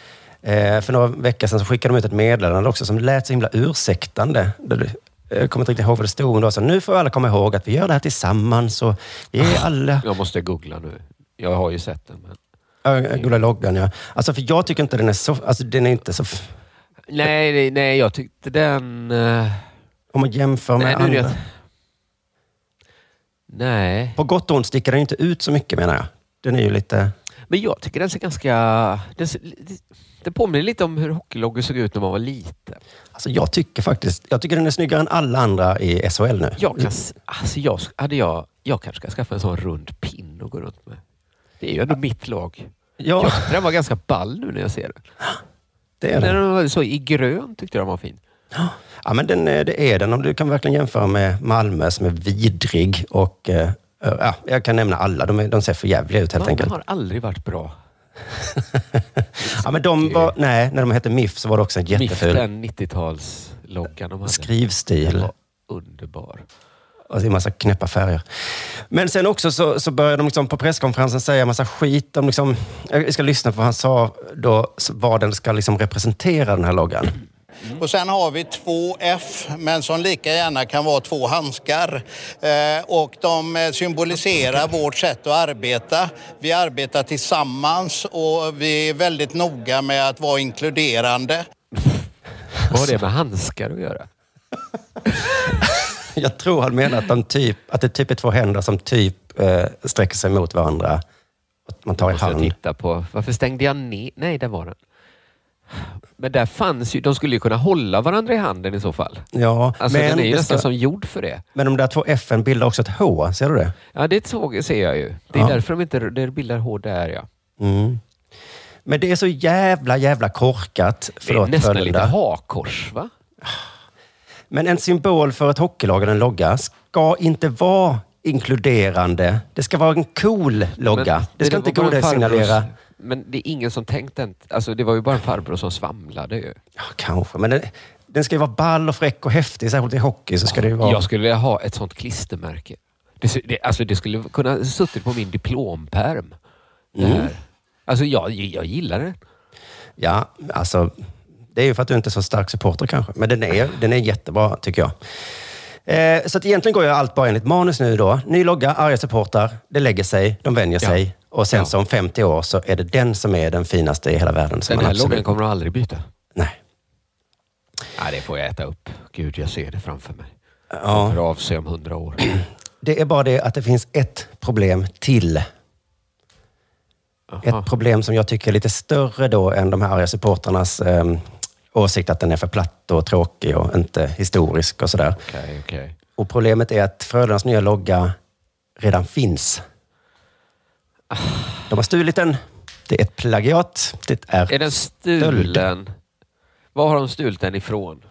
Speaker 6: Eh, för några veckor sedan så skickade de ut ett meddelande också som lät så himla ursäktande. Det- Jag kommer inte riktigt ihåg vad det stod. Men det var så, nu får alla komma ihåg att vi gör det här tillsammans. Och vi är alla...
Speaker 5: Jag måste googla nu. Jag har ju sett den. Men...
Speaker 6: Ja, Gula loggan, ja. Alltså, för jag tycker inte den är så... Alltså, den är inte så... f-
Speaker 5: Nej, nej, nej, jag tyckte den... eh,
Speaker 6: Om man jämför med
Speaker 5: Nej, nu är det
Speaker 6: andra.
Speaker 5: att- Nej.
Speaker 6: På gott och ont sticker den ju inte ut så mycket, menar jag. Den är ju lite...
Speaker 5: Men jag tycker den ser ganska... Den, ser, den påminner lite om hur hockeyloggor såg ut när man var liten.
Speaker 6: Alltså, jag tycker faktiskt... Jag tycker den är snyggare än alla andra i SHL nu.
Speaker 5: Jag, kan, s- alltså jag, s- hade jag, jag kanske ska skaffa en sån rund pin och gå runt med. Det är ju ändå mitt lag.
Speaker 6: Ja,
Speaker 5: Jag tyckte den var ganska ball nu när jag ser den.
Speaker 6: det är
Speaker 5: När
Speaker 6: den.
Speaker 5: den var så i grön tyckte jag den var fin.
Speaker 6: Ja, men den, är- det är den. Om du kan verkligen jämföra med Malmö som är vidrig och... eh, Ja, jag kan nämna alla. De, är, de ser för jävliga ut helt
Speaker 5: Malmö
Speaker 6: enkelt.
Speaker 5: har aldrig varit bra.
Speaker 6: Ja, men de var, nej, när de hette MIF så var det också en
Speaker 5: MIF,
Speaker 6: jätteful
Speaker 5: den 90-talsloggan de hade.
Speaker 6: skrivstil.
Speaker 5: var underbar.
Speaker 6: Och en massa knäppa färger. Men sen också så, så började de liksom på presskonferensen säga massa skit. Om liksom, jag ska lyssna på vad han sa då, s- vad den ska liksom representera, den här loggan.
Speaker 11: Och sen har vi två F, men som lika gärna kan vara två handskar. Eh, och de eh, symboliserar vårt sätt att arbeta. Vi arbetar tillsammans och vi är väldigt noga med att vara inkluderande.
Speaker 5: Vad har det med handskar att göra?
Speaker 6: Jag tror han menar att, de typ, att det typ är två händer som typ eh, sträcker sig mot varandra. Att man tar i
Speaker 5: Måste Alltså, jag
Speaker 6: hand.
Speaker 5: titta på. Varför stängde jag ner? Nej, där var den. Men där fanns ju, de skulle ju kunna hålla varandra i handen i så fall.
Speaker 6: Ja,
Speaker 5: Alltså
Speaker 6: men,
Speaker 5: den är ju
Speaker 6: det
Speaker 5: nästan
Speaker 6: ska,
Speaker 5: som gjord för det.
Speaker 6: men de där två F bildar också ett H, ser du det?
Speaker 5: Ja, det såg, ser jag ju. Det är
Speaker 6: Ja.
Speaker 5: därför de inte det bildar hår där ja.
Speaker 6: Mm. Men det är så jävla, jävla korkat.
Speaker 5: Det är
Speaker 6: Förlåt,
Speaker 5: nästan lite
Speaker 6: Frölunda.
Speaker 5: hakors va?
Speaker 6: Men en symbol för ett hockeylag eller en logga ska inte vara inkluderande. Det ska vara en cool logga.
Speaker 5: Men
Speaker 6: det ska
Speaker 5: var
Speaker 6: inte
Speaker 5: bara en
Speaker 6: goda
Speaker 5: farbror-
Speaker 6: signalera...
Speaker 5: Men det är ingen som tänkte en, alltså det var ju bara en farbror som svamlade ju.
Speaker 6: Ja, kanske. Men den, den ska ju vara ball och fräck och häftig. Särskilt i hockey så ska det ju vara...
Speaker 5: Jag skulle vilja ha ett sånt klistermärke. Det, su- det, alltså det skulle kunna suttit på min diplompärm. Det
Speaker 6: Mm.
Speaker 5: här. Alltså jag, jag gillar det.
Speaker 6: Ja, alltså... Det är ju för att du inte är så stark supporter kanske. Men den är, den är jättebra, tycker jag. Eh, så att egentligen går ju allt bara enligt manus nu då. Ny logga, arga supportrar. Det lägger sig, de vänjer
Speaker 5: Ja.
Speaker 6: sig. Och sen
Speaker 5: Ja.
Speaker 6: så om 50 år så är det den som är den finaste i hela världen. Som
Speaker 5: Den
Speaker 6: man
Speaker 5: här
Speaker 6: absolut-
Speaker 5: loggan kommer du aldrig byta.
Speaker 6: Nej.
Speaker 5: Nej, det får jag äta upp. Gud, jag ser det framför mig.
Speaker 6: Ja.
Speaker 5: Hör av sig om hundra år.
Speaker 6: Det är bara det att det finns ett problem till. Ett
Speaker 5: Aha.
Speaker 6: problem som jag tycker är lite större då än de här arga supportrarnas ehm, åsikt att den är för platt och tråkig och inte historisk och sådär.
Speaker 5: Okej, okej.
Speaker 6: Och problemet är att Frölundas nya logga redan finns. De har stulit den. Det är ett plagiat. Det är,
Speaker 5: Är den
Speaker 6: stöld.
Speaker 5: stulen? Var har de stulit den ifrån?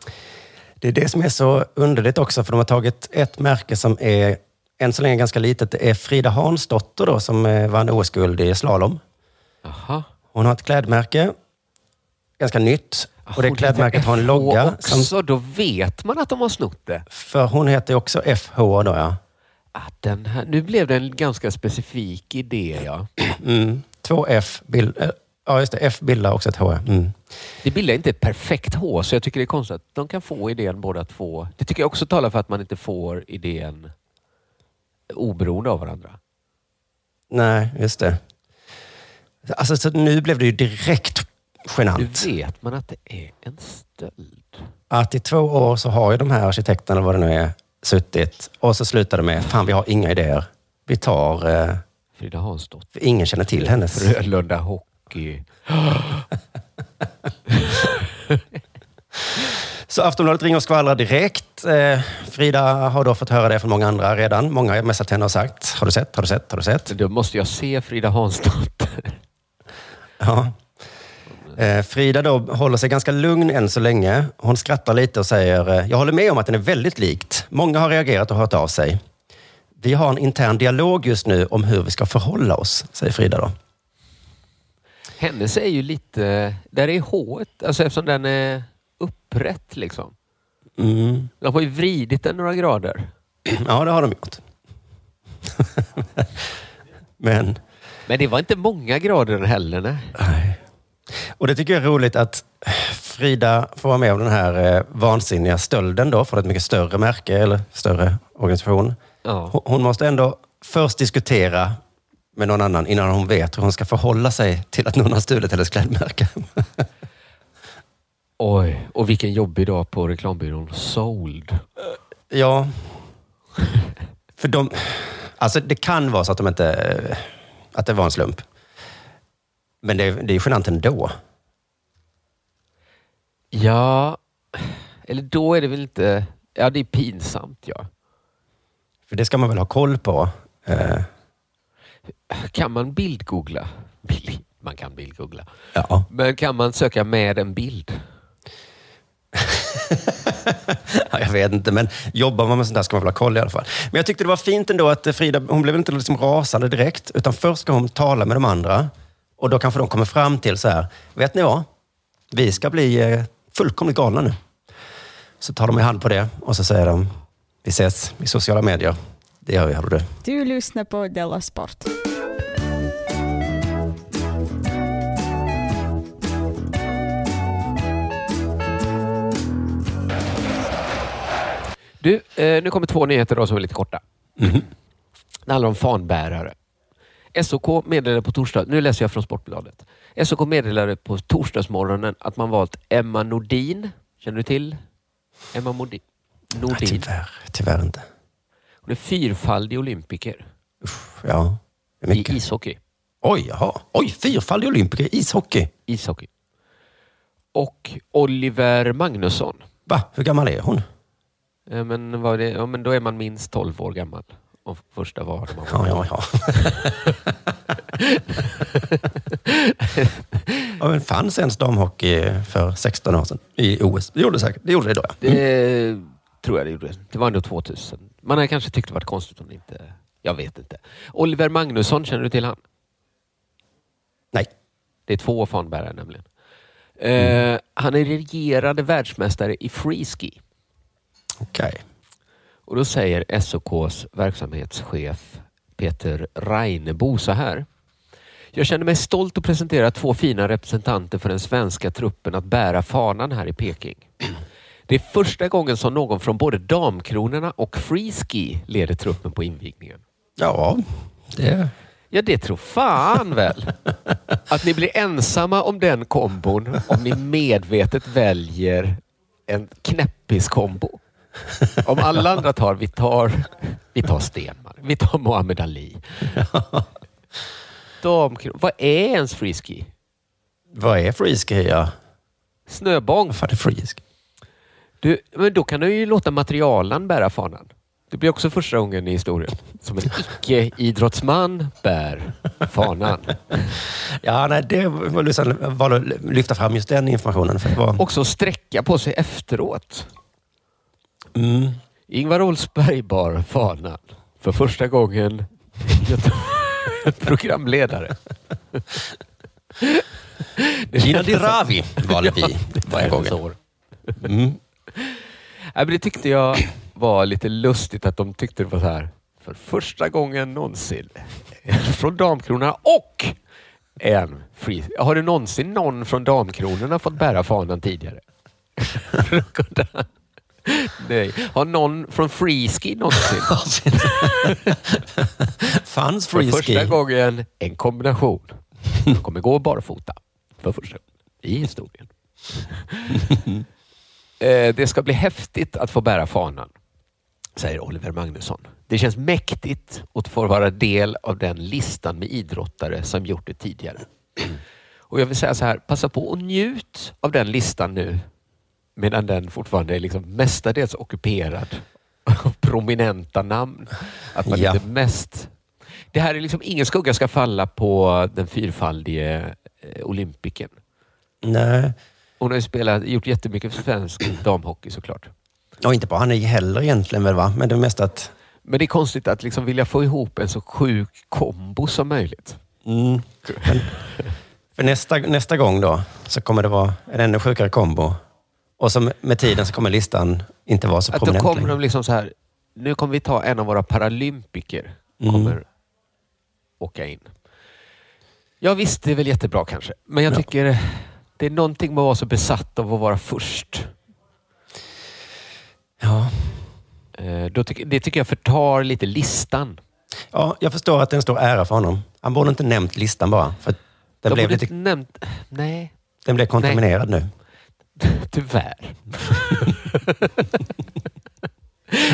Speaker 6: Det är det som är så underligt också, för de har tagit ett märke som är än så länge ganska litet. Det är Frida Hansdotter då, som eh, vann OS-guld i slalom.
Speaker 5: Jaha.
Speaker 6: Hon har ett klädmärke, ganska nytt. Och det klädmärket har en logga.
Speaker 5: också, då vet man att de har snott det.
Speaker 6: För hon heter ju också FH då ja.
Speaker 5: Den här, nu blev det en ganska specifik idé. Ja.
Speaker 6: Mm. Två F bild, eh, Ja, just det. F bildar också ett H. ja. Mm.
Speaker 5: Det bildar inte ett perfekt H, så jag tycker det är konstigt att de kan få idén båda två. Det tycker jag också talar för att man inte får idén oberoende av varandra.
Speaker 6: Nej, just det. Alltså, så nu blev det ju direkt
Speaker 5: Nu
Speaker 6: genant.
Speaker 5: vet man att det är en stöld.
Speaker 6: Att i två år så har ju de här arkitekterna, eller vad det nu är, suttit och så slutar det med, fan vi har inga idéer. Vi tar... Eh,
Speaker 5: Frida Hansdotter.
Speaker 6: för Ingen känner till hennes...
Speaker 5: Frölunda Hockey.
Speaker 6: Så Aftonbladet ringer och skvallrar direkt. Eh, Frida har då fått höra det från många andra redan. Många har messat henne och sagt, har du sett, har du sett, har du sett?
Speaker 5: Då måste jag se Frida Hansdotter.
Speaker 6: Ja. Eh, Frida då håller sig ganska lugn än så länge. Hon skrattar lite och säger, eh, jag håller med om att den är väldigt likt. Många har reagerat och hört av sig. Vi har en intern dialog just nu om hur vi ska förhålla oss, säger Frida då.
Speaker 5: Hennes är ju lite... Där är H, alltså eftersom den är upprätt liksom.
Speaker 6: Mm.
Speaker 5: De har ju vridit den några grader.
Speaker 6: Ja, det har de gjort. Men...
Speaker 5: Men det var inte många grader heller. Nej.
Speaker 6: Och det tycker jag är roligt att Frida får vara med om den här eh, vansinniga stölden då från ett mycket större märke eller större organisation. Hon- Hon måste ändå först diskutera med någon annan innan hon vet hur hon ska förhålla sig till att någon har stulit hennes klädmärke.
Speaker 5: Oj, och vilken jobbig dag på reklambyrån Sold.
Speaker 6: Ja, för de... Alltså det kan vara så att de inte... eh, Att det var en slump. Men det, är- det är genant ändå.
Speaker 5: Ja, eller då är det väl inte... Ja, det är pinsamt ja.
Speaker 6: För det ska man väl ha koll på. Eh,
Speaker 5: Kan man bildgoogla? Bild, man kan bildgoogla.
Speaker 6: Ja.
Speaker 5: Men kan man söka med en bild?
Speaker 6: Ja, jag vet inte, men jobbar man med sånt där ska man väl ha koll i alla fall. Men jag tyckte det var fint ändå att eh, Frida, hon blev inte liksom rasande direkt, utan först ska hon tala med de andra. Och då kanske de kommer fram till så här, vet ni vad? Vi ska bli eh, fullkomligt galna nu. Så tar de i hand på det och så säger de, vi ses i sociala medier. Det gör vi, hörru du.
Speaker 12: Du lyssnar på Della Sport.
Speaker 5: Du, eh, nu kommer två nyheter då som är lite korta.
Speaker 6: Mhm.
Speaker 5: Det handlar om fanbärare. SOK meddelade på torsdag, nu läser jag från Sportbladet. SOK meddelade på torsdagsmorgonen att man valt Emma Nordin. Känner du till Emma Modi- Nordin?
Speaker 6: Nej, tyvärr, tyvärr inte.
Speaker 5: Hon är fyrfaldig olympiker
Speaker 6: Ja, det är mycket.
Speaker 5: i ishockey.
Speaker 6: Oj, jaha. Oj, fyrfaldig olympiker i ishockey.
Speaker 5: Ishockey. Och Oliver Magnusson.
Speaker 6: Va, hur gammal är hon?
Speaker 5: Eh, Men, vad är det? Ja, men då är man minst 12 år gammal. Om första var man
Speaker 6: Ja, ja, ja. ja men fanns ens damhockey för 16 år sedan i OS? Det gjorde det säkert. Det gjorde det då, ja. Mm.
Speaker 5: Det tror jag det gjorde. Det var ändå 2000. Man hade kanske tyckt det var konstigt om det inte... Jag vet inte. Oliver Magnusson, känner du till han?
Speaker 6: Nej.
Speaker 5: Det är två fanbärare nämligen. Eh, han är regerande världsmästare i freeski.
Speaker 6: Okej.
Speaker 5: Och då säger SOKs verksamhetschef Peter Reinebo så här. Jag känner mig stolt att presentera två fina representanter för den svenska truppen att bära fanan här i Peking. Det är första gången som någon från både Damkronorna och Freeski leder truppen på invigningen.
Speaker 6: Ja, det...
Speaker 5: Ja, det tror fan väl. Att ni blir ensamma om den kombon om ni medvetet väljer en knäppis-kombo. Om alla andra tar, vi tar, vi tar Stenmark, vi tar Muhammad Ali. Damkron. Vad är ens freeski?
Speaker 6: Vad är freeski? Ja.
Speaker 5: Snöbång?
Speaker 6: Vad fan är freeski?
Speaker 5: Du, men då kan du ju låta materialen bära fanan. Det blir också första gången i historien som en icke-idrottsman bär fanan.
Speaker 6: Ja, nej, det var Lussan valde att lyfta fram just den informationen. För det var...
Speaker 5: Också sträcka på sig efteråt.
Speaker 6: Mm.
Speaker 5: Ingvar Oldsberg bar fanan för första gången i Göteborg. programledare.
Speaker 6: Gino Di Ravi var det vi var en gång.
Speaker 5: Mm. Nej, men det tyckte jag var lite lustigt att de tyckte det var så här. För första gången någonsin. Från Damkronorna och en free. Har du någonsin någon från Damkronorna fått bära fanan tidigare? Nej. Har någon från Freeski någonsin?
Speaker 6: Fanns
Speaker 5: För
Speaker 6: freeski?
Speaker 5: första gången en kombination. Jag kommer gå barfota för första gången i historien. Eh, Det ska bli häftigt att få bära fanan, säger Oliver Magnusson. Det känns mäktigt att få vara del av den listan med idrottare som gjort det tidigare. Och jag vill säga så här, passa på och njut av den listan nu medan den fortfarande är liksom mestadels ockuperad av prominenta namn. Att man
Speaker 6: Ja.
Speaker 5: inte mest... Det här är liksom, ingen skugga ska falla på den fyrfaldige eh, olympiken.
Speaker 6: Nej.
Speaker 5: Hon har ju spelat, gjort jättemycket för svensk damhockey såklart.
Speaker 6: Och inte bara han är heller egentligen väl va? Men det är mest att...
Speaker 5: Men det är konstigt att liksom vilja få ihop en så sjuk kombo som möjligt.
Speaker 6: Mm. Men, för nästa, nästa gång då så kommer det vara en ännu sjukare kombo. Och så med- med tiden så kommer listan inte vara så
Speaker 5: Att då
Speaker 6: prominent
Speaker 5: kommer
Speaker 6: längre.
Speaker 5: de liksom så här, nu kommer vi ta en av våra paralympiker.
Speaker 6: Mm.
Speaker 5: Kommer åka in. Ja visst, det är väl jättebra kanske. Men jag tycker det är någonting med att vara så besatt av att vara först.
Speaker 6: Ja.
Speaker 5: Eh, Då tycker, det tycker jag förtar lite listan.
Speaker 6: Ja, jag förstår att det är en stor ära för honom. Han borde inte nämnt listan bara. För att den,
Speaker 5: De
Speaker 6: blev
Speaker 5: borde
Speaker 6: lite,
Speaker 5: inte nämnt... Nej,
Speaker 6: den blev kontaminerad nu.
Speaker 5: tyvärr.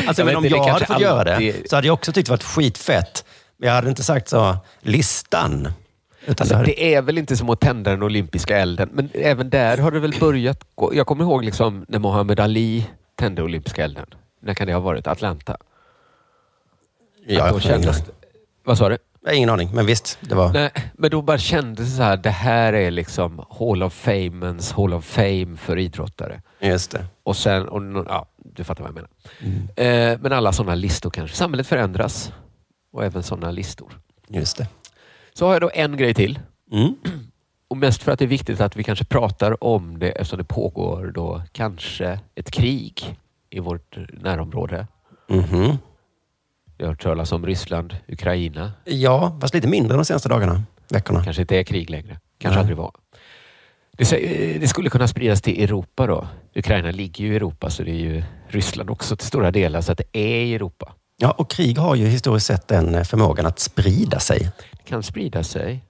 Speaker 6: Alltså,
Speaker 5: Jag
Speaker 6: men
Speaker 5: vet
Speaker 6: om
Speaker 5: inte, det
Speaker 6: jag hade
Speaker 5: kanske
Speaker 6: fått göra det
Speaker 5: alltid-
Speaker 6: så hade jag också tyckt det varit skitfett. Men jag hade inte sagt så, listan. Utan
Speaker 5: Alltså,
Speaker 6: det hade,
Speaker 5: det är väl inte som att tända den olympiska elden, men även där har det väl börjat gå. Jag kommer ihåg liksom när Muhammad Ali tände olympiska elden. När kan det ha varit? Atlanta?
Speaker 6: Ja,
Speaker 5: att då
Speaker 6: jag har ingen
Speaker 5: kändes
Speaker 6: aning.
Speaker 5: Vad sa du?
Speaker 6: Nej, ingen aning, men visst. Det var...
Speaker 5: Nej, men då bara kändes det så här, det här är liksom Hall of Famens Hall of Fame för idrottare.
Speaker 6: Just det.
Speaker 5: Och sen, och, nå- ja, du fattar vad jag menar.
Speaker 6: Mm.
Speaker 5: Eh, men alla sådana listor kanske. Samhället förändras. Och även sådana listor.
Speaker 6: Just det.
Speaker 5: Så har jag då en grej till.
Speaker 6: Mm.
Speaker 5: Och mest för att det är viktigt att vi kanske pratar om det eftersom det pågår då kanske ett krig i vårt närområde.
Speaker 6: Mhm.
Speaker 5: Jag har hört talas om Ryssland, Ukraina.
Speaker 6: Ja, fast lite mindre de senaste dagarna, veckorna.
Speaker 5: Kanske inte är krig längre. Kanske
Speaker 6: Nej.
Speaker 5: aldrig var. Det, sä- eh, det skulle kunna spridas till Europa då. Ukraina ligger ju i Europa så det är ju Ryssland också till stora delar så att det är i Europa.
Speaker 6: Ja, och krig har ju historiskt sett den eh, förmågan att sprida sig.
Speaker 5: Det kan sprida sig.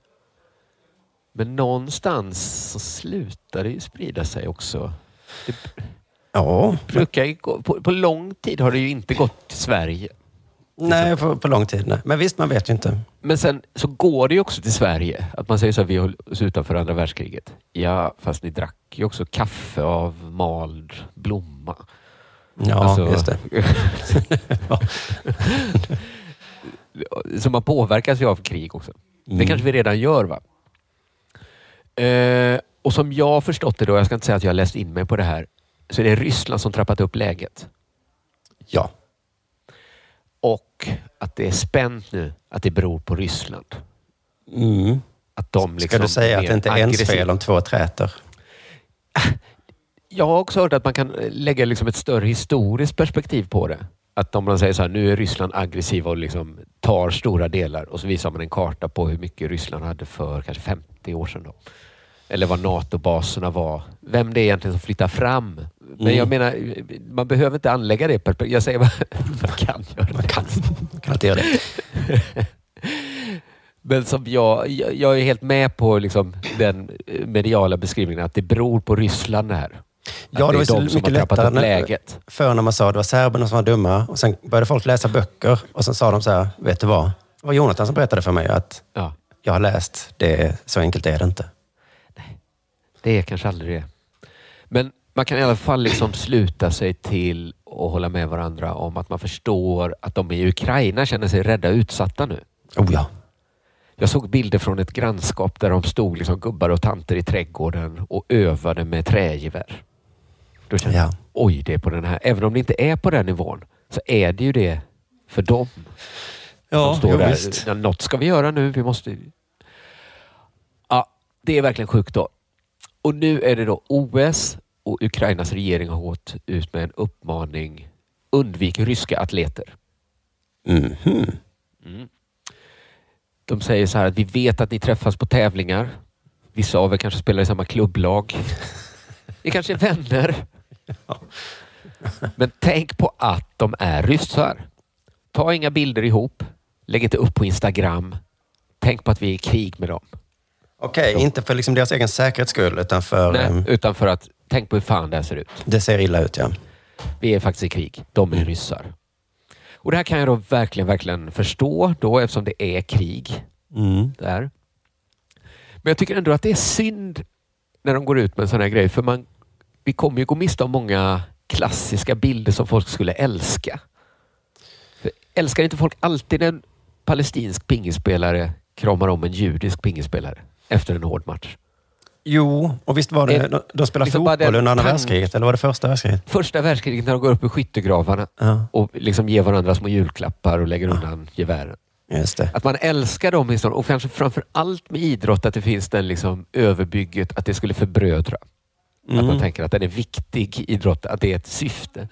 Speaker 5: Men någonstans så slutar det ju sprida sig också.
Speaker 6: Ja,
Speaker 5: Brukar ju gå, på, på lång tid har det ju inte gått till Sverige.
Speaker 6: nej, på, på lång tid. Nej. Men visst, man vet ju inte.
Speaker 5: Men sen så går det ju också till Sverige. Att man säger så här, vi höll oss utanför andra världskriget. Ja, fast ni drack ju också kaffe av mald blomma. Alltså,
Speaker 6: Ja, just
Speaker 5: så man påverkas ju av krig också. Det
Speaker 6: Mm.
Speaker 5: kanske vi redan gör va? Eh, och som jag har förstått det då, jag ska inte säga att jag har läst in mig på det här, så är det Ryssland som trappat upp läget.
Speaker 6: Ja.
Speaker 5: Och att det är spänt nu, att det beror på Ryssland.
Speaker 6: Mm.
Speaker 5: Att de liksom
Speaker 6: Ska du säga att
Speaker 5: mer
Speaker 6: det inte är ens
Speaker 5: aggressiva.
Speaker 6: fel om två träter?
Speaker 5: Jag har också hört att man kan lägga liksom ett större historiskt perspektiv på det. Att om man säger så här, nu är Ryssland aggressiva och liksom tar stora delar och så visar man en karta på hur mycket Ryssland hade för kanske 50 år sedan. Då. Eller vad NATO-baserna var. Vem det är egentligen som flyttar fram. Men
Speaker 6: Mm.
Speaker 5: jag menar, man behöver inte anlägga det perspektivet. Jag säger bara, man kan göra det.
Speaker 6: Man kan, man kan inte göra det.
Speaker 5: Men som jag, jag, jag är helt med på liksom den eh, mediala beskrivningen att det beror på Ryssland det här.
Speaker 6: Ja,
Speaker 5: att
Speaker 6: det var
Speaker 5: är
Speaker 6: så
Speaker 5: de som har
Speaker 6: mycket
Speaker 5: trappat
Speaker 6: lättare
Speaker 5: upp
Speaker 6: när,
Speaker 5: läget.
Speaker 6: förr när man sa att det var serberna som var dumma och sen började folk läsa böcker och sen sa de så här, vet du vad? Det var Jonathan som berättade för mig att
Speaker 5: Ja.
Speaker 6: jag har läst, det, så enkelt är det inte.
Speaker 5: Det är kanske aldrig det. Men man kan i alla fall liksom sluta sig till och hålla med varandra om att man förstår att de i Ukraina känner sig rädda och utsatta nu.
Speaker 6: Oh ja.
Speaker 5: Jag såg bilder från ett grannskap där de stod liksom gubbar och tanter i trädgården och övade med trägevär. Då kände jag,
Speaker 6: Ja.
Speaker 5: oj det är på den här. Även om det inte är på den nivån så är det ju det för dem.
Speaker 6: Ja,
Speaker 5: De står
Speaker 6: jo,
Speaker 5: där.
Speaker 6: visst.
Speaker 5: "Ja, Något ska vi göra nu. Vi måste... Ja, det är verkligen sjukt då. Och nu är det då OS och Ukrainas regering har gått ut med en uppmaning. Undvik ryska atleter. Mm.
Speaker 6: Mhm.
Speaker 5: De säger så här att vi vet att ni träffas på tävlingar. Vissa av er kanske spelar i samma klubblag. Ni kanske är vänner. Men tänk på att de är ryssar. Ta inga bilder ihop. Lägg inte upp på Instagram. Tänk på att vi är i krig med dem.
Speaker 6: Okej, inte för liksom deras egen säkerhets skull, utan för...
Speaker 5: Nej,
Speaker 6: ehm,
Speaker 5: utan för att tänk på hur fan det här ser ut.
Speaker 6: det ser illa ut, ja.
Speaker 5: Vi är faktiskt i krig. De är ryssar. Och det här kan jag då verkligen, verkligen förstå då eftersom det är krig där. Men jag tycker ändå att det är synd när de går ut med en sån här grej för man, vi kommer ju gå miste om många klassiska bilder som folk skulle älska. För älskar inte folk alltid en palestinsk pingisspelare kramar om en judisk pingisspelare efter en hård match?
Speaker 6: Jo, och visst var det...
Speaker 5: Eh,
Speaker 6: De, de spelade
Speaker 5: liksom bara
Speaker 6: fotboll
Speaker 5: den
Speaker 6: under andra
Speaker 5: tank-
Speaker 6: världskriget, eller var det första världskriget?
Speaker 5: Första världskriget när de går upp i skyttegravarna och liksom ger varandra små julklappar och lägger undan gevären.
Speaker 6: Just det.
Speaker 5: Att man älskar de historierna och kanske framför allt med idrott att det finns den liksom överbygget att det skulle förbrödra. Att
Speaker 6: Mm.
Speaker 5: man tänker att den är viktig idrott, att det är ett syfte.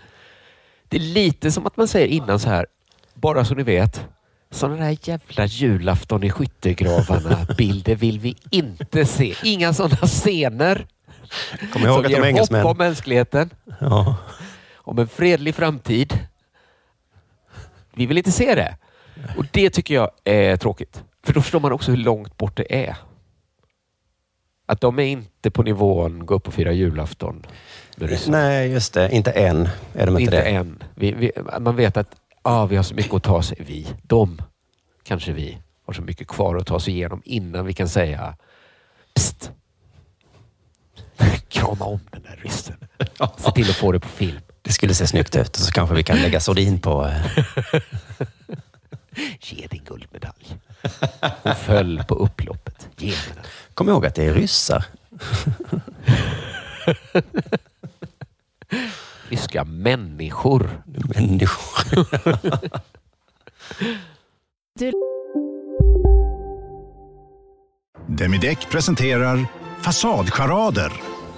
Speaker 5: Det är lite som att man säger innan så här, bara så ni vet, sådana där jävla julafton i skyttegravarna bilder vill vi inte se. Inga sådana scener.
Speaker 6: Kom ihåg
Speaker 5: som
Speaker 6: att de
Speaker 5: ger
Speaker 6: är engelsmän.
Speaker 5: hopp om mänskligheten,
Speaker 6: Ja.
Speaker 5: om en fredlig framtid. Vi vill inte se det. Och det tycker jag är tråkigt. För då förstår man också hur långt bort det är. Att de är inte på nivån gå upp och fira julafton. med ryssarna.
Speaker 6: Nej, just det. Inte än är de inte,
Speaker 5: inte
Speaker 6: det.
Speaker 5: än. Vi, vi, man vet att ah, vi har så mycket att ta sig. Vi, de, kanske vi, har så mycket kvar att ta sig igenom innan vi kan säga Psst. Krama om den där ryssen. Se till att få det på film.
Speaker 6: Det skulle se snyggt ut och så kanske vi kan lägga sordin på... eh,
Speaker 5: Ge din guldmedalj. Hon föll på upploppet. Ge mig den.
Speaker 6: Kom ihåg att det är ryssar.
Speaker 5: Ryska människor.
Speaker 6: Människor.
Speaker 13: Demideck presenterar Fasadcharader.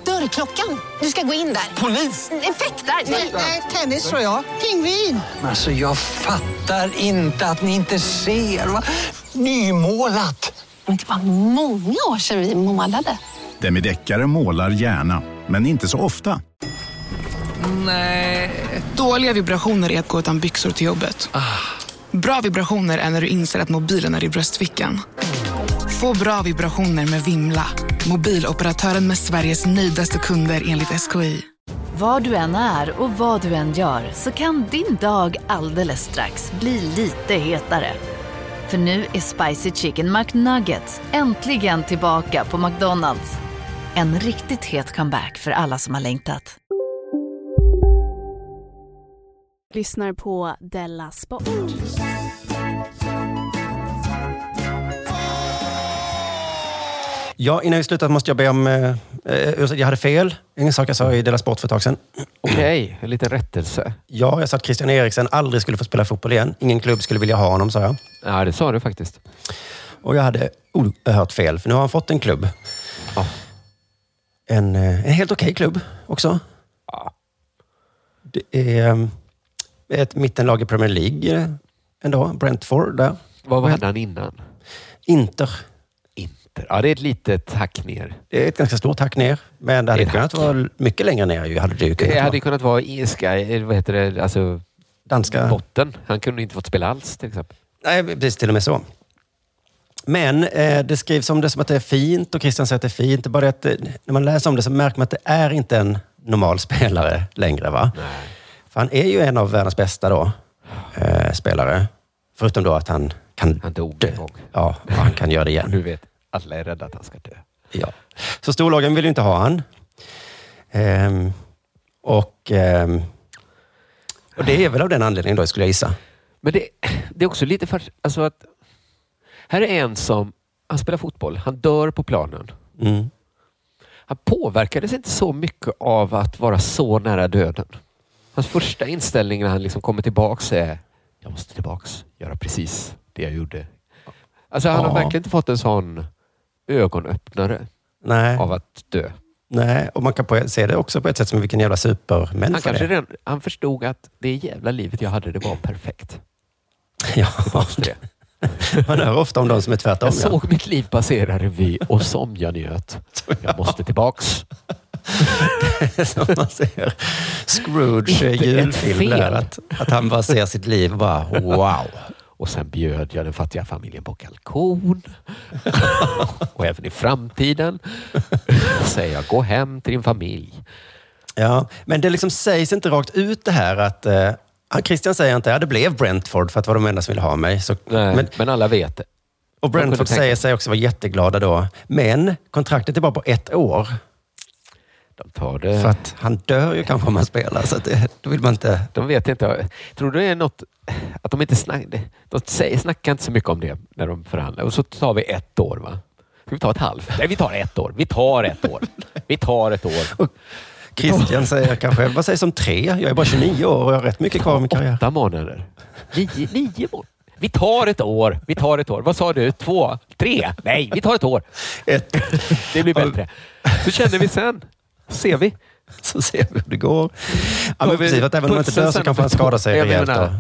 Speaker 14: Dörrklockan. Du ska gå in där. Polis? Effektar? Nej, nej, tennis tror jag. Pingvin.
Speaker 15: Alltså jag fattar inte att ni inte ser. Va? Nymålat!
Speaker 16: Men det var många år sedan vi målade.
Speaker 13: Demideckare målar gärna, men inte så ofta.
Speaker 17: Nej. Dåliga vibrationer är att gå utan byxor till jobbet. Bra vibrationer är när du inser att mobilen är i bröstfickan. Få bra vibrationer med Vimla. Mobiloperatören med Sveriges nöjdaste kunder enligt SKI.
Speaker 18: Var du än är och vad du än gör så kan din dag alldeles strax bli lite hetare. För nu är Spicy Chicken McNuggets äntligen tillbaka på McDonalds. En riktigt het comeback för alla som har längtat.
Speaker 19: Lyssnar på Della Sport.
Speaker 6: Ja, innan vi slutar måste jag be om eh, eh, ursäkt. Jag hade fel. Ingen sak jag sa i Dela Sport för ett tag sedan.
Speaker 5: Okej, en liten rättelse.
Speaker 6: Ja, jag sa att Christian Eriksen aldrig skulle få spela fotboll igen. Ingen klubb skulle vilja ha honom, sa jag.
Speaker 5: Ja, det sa du faktiskt.
Speaker 6: Och jag hade oerhört fel, för nu har han fått en klubb. En, eh, en helt okej klubb också. Det är eh, ett mittenlag i Premier League eh, ändå. Brentford där.
Speaker 5: Vad var hade han innan?
Speaker 6: Inter.
Speaker 5: Ja, det är ett litet hack ner.
Speaker 6: Det är ett ganska stort hack ner. Men det hade
Speaker 5: Det är ett
Speaker 6: kunnat
Speaker 5: hack.
Speaker 6: vara mycket längre ner. Ju, hade det ju kunnat
Speaker 5: Det
Speaker 6: vara.
Speaker 5: hade kunnat vara iska, eller vad heter det, alltså
Speaker 6: Danska.
Speaker 5: botten. Han kunde inte fått spela alls till exempel.
Speaker 6: Nej, precis. Till och med så. Men eh, det skrivs om det som att det är fint och Christian säger att det är fint. Det är bara det att eh, när man läser om det så märker man att det är inte en normal spelare längre. Va? För han är ju en av världens bästa då, eh, spelare. Förutom då att han kan
Speaker 5: Han dog en gång.
Speaker 6: Ja, och han kan göra det igen.
Speaker 5: Nu vet alla är rädda att han ska dö.
Speaker 6: Ja. Så storlagen vill ju inte ha han. Ehm, och, ehm, och det är väl av den anledningen då, skulle jag gissa.
Speaker 5: Men det, det är också lite för, alltså att Här är en som, han spelar fotboll, han dör på planen.
Speaker 6: Mm.
Speaker 5: Han påverkades inte så mycket av att vara så nära döden. Hans första inställning när han liksom kommer tillbaks är, jag måste tillbaks, göra precis det jag gjorde. Alltså han
Speaker 6: Ja.
Speaker 5: har verkligen inte fått en sån ögonöppnare
Speaker 6: Nej.
Speaker 5: av att dö.
Speaker 6: Nej, och man kan på, se det också på ett sätt som vilken jävla
Speaker 5: Han,
Speaker 6: supermänniska
Speaker 5: kanske
Speaker 6: det är.
Speaker 5: redan, han förstod att det jävla livet jag hade, det var perfekt.
Speaker 6: Ja, man hör ofta om de som är tvärtom.
Speaker 5: Jag såg mitt liv passera revy och som jag njöt. Jag måste tillbaks.
Speaker 6: som man ser Scrooge
Speaker 5: Inte ett
Speaker 6: eh, julfilm där.
Speaker 5: fel.
Speaker 6: Att, att han bara ser sitt liv och bara wow.
Speaker 5: Och sen bjöd jag den fattiga familjen på kalkon. och även i framtiden säger jag, gå hem till din familj.
Speaker 6: Ja, men det liksom sägs inte rakt ut det här att eh, Christian säger inte att ja, det blev Brentford för att det var de enda som ville ha mig. Så,
Speaker 5: Nej, men, alla vet det.
Speaker 6: Och
Speaker 5: De kunde
Speaker 6: Brentford
Speaker 5: tänka-
Speaker 6: säger sig också vara jätteglada då. Men kontraktet är bara på ett år.
Speaker 5: De tar det.
Speaker 6: För att han dör ju kanske om han spelar. Så att det, då vill man inte...
Speaker 5: De vet inte. Tror du det är något att de inte snackar? De säger, snackar inte så mycket om det när de förhandlar. Och så tar vi ett år, va? Ska vi ta ett halvt? Nej, vi tar ett år. Vi tar ett år. Vi tar ett år.
Speaker 6: Christian säger kanske, vad sägs om tre? Jag är bara 29 år och jag har rätt mycket kvar av min karriär.
Speaker 5: Åtta månader. Nio, nio månader. Vi tar ett år. Vi tar ett år. Vad sa du? Två? Tre? Nej, vi tar ett år.
Speaker 6: Ett.
Speaker 5: Det blir bättre. Så känner vi sen. ser vi.
Speaker 6: Så ser vi hur det går. Ja, men precis, för att även om han inte dör så kanske han skadar sig
Speaker 5: Jag
Speaker 6: rejält.
Speaker 5: menar-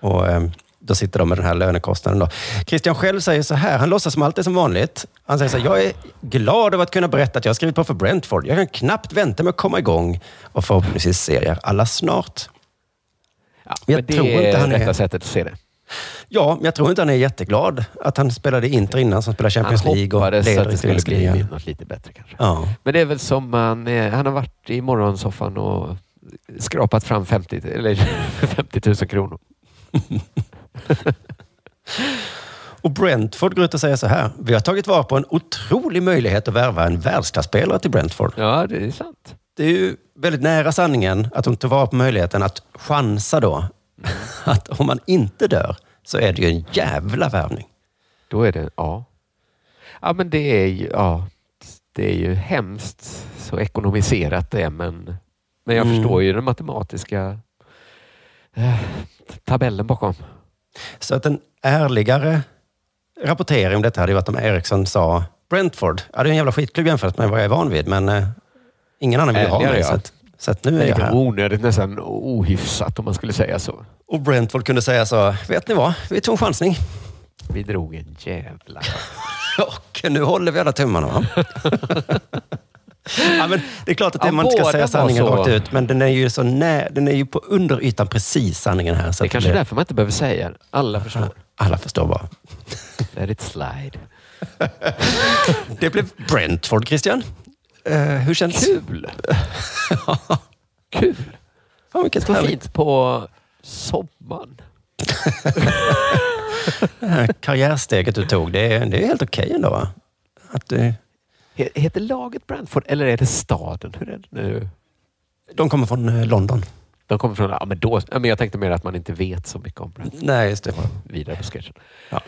Speaker 6: Då. Och, ehm, då sitter de med den här lönekostnaden. Då. Christian själv säger så här, han låtsas som allt är som vanligt. Han säger så här, jag är glad över att kunna berätta att jag har skrivit på för Brentford. Jag kan knappt vänta med att komma igång och förhoppningsvis ser er alla snart. Men
Speaker 5: Men det är rätta sättet att se det.
Speaker 6: Ja, men jag tror inte han är jätteglad att han spelade Inter innan, som spelar Champions
Speaker 5: Han
Speaker 6: League och
Speaker 5: hoppades att
Speaker 6: leder
Speaker 5: det skulle
Speaker 6: italienska
Speaker 5: bli
Speaker 6: ligan.
Speaker 5: något lite bättre kanske.
Speaker 6: Ja.
Speaker 5: Men det är väl som han, eh, han har varit i morgonsoffan och skrapat fram 50, eller 50 000 kronor.
Speaker 6: Och Brentford går ut och säger så här. Vi har tagit vara på en otrolig möjlighet att värva en världsklasspelare till Brentford.
Speaker 5: Ja, det är sant.
Speaker 6: Det är ju väldigt nära sanningen att de tar vara på möjligheten att chansa då. Att om man inte dör så är det ju en jävla värvning.
Speaker 5: Då är det, ja. Ja, men det är ju, ja. Det är ju hemskt så ekonomiserat det är, men, men jag
Speaker 6: Mm.
Speaker 5: förstår ju den matematiska eh, tabellen bakom.
Speaker 6: Så att en ärligare rapportering om detta hade ju varit om Eriksson sa Brentford. Ja, det är en jävla skitklubb jämfört med vad jag är van vid, men eh, ingen annan vill ju ha
Speaker 5: Ärligare,
Speaker 6: mig.
Speaker 5: ja.
Speaker 6: Så, att, så att nu är
Speaker 5: det
Speaker 6: jag
Speaker 5: är
Speaker 6: här.
Speaker 5: onödigt, nästan ohyfsat om man skulle säga så.
Speaker 6: Och Brentford kunde säga så, vet ni vad? Vi tog en chansning.
Speaker 5: Vi drog en jävla...
Speaker 6: Och nu håller vi alla tummarna. Va? ja, men det är klart att det,
Speaker 5: Ja,
Speaker 6: man inte ska
Speaker 5: båda
Speaker 6: säga
Speaker 5: var
Speaker 6: sanningen
Speaker 5: så.
Speaker 6: rakt ut, men den är ju, så nä, den är ju på underytan precis sanningen här. Så
Speaker 5: Det är
Speaker 6: att
Speaker 5: kanske är
Speaker 6: blir-
Speaker 5: därför man inte behöver säga det. Alla förstår.
Speaker 6: Alla förstår bara.
Speaker 5: Let it slide.
Speaker 6: Det blev Brentford, Christian. Eh, hur känns det?
Speaker 5: Kul! Kul!
Speaker 6: Fan, vilket
Speaker 5: Så
Speaker 6: härligt.
Speaker 5: fint på sommaren.
Speaker 6: Det här karriärsteget du tog, det är, det är helt okej ändå va? Att eh, du,
Speaker 5: He- Heter laget Brentford eller är det staden? Hur är det nu?
Speaker 6: de kommer från eh, London.
Speaker 5: De kommer från... Ja, men då, ja, men jag tänkte mer att man inte vet så mycket om Brentford.
Speaker 6: Nej, just det.
Speaker 5: Vidare på sketchen.
Speaker 6: Ja.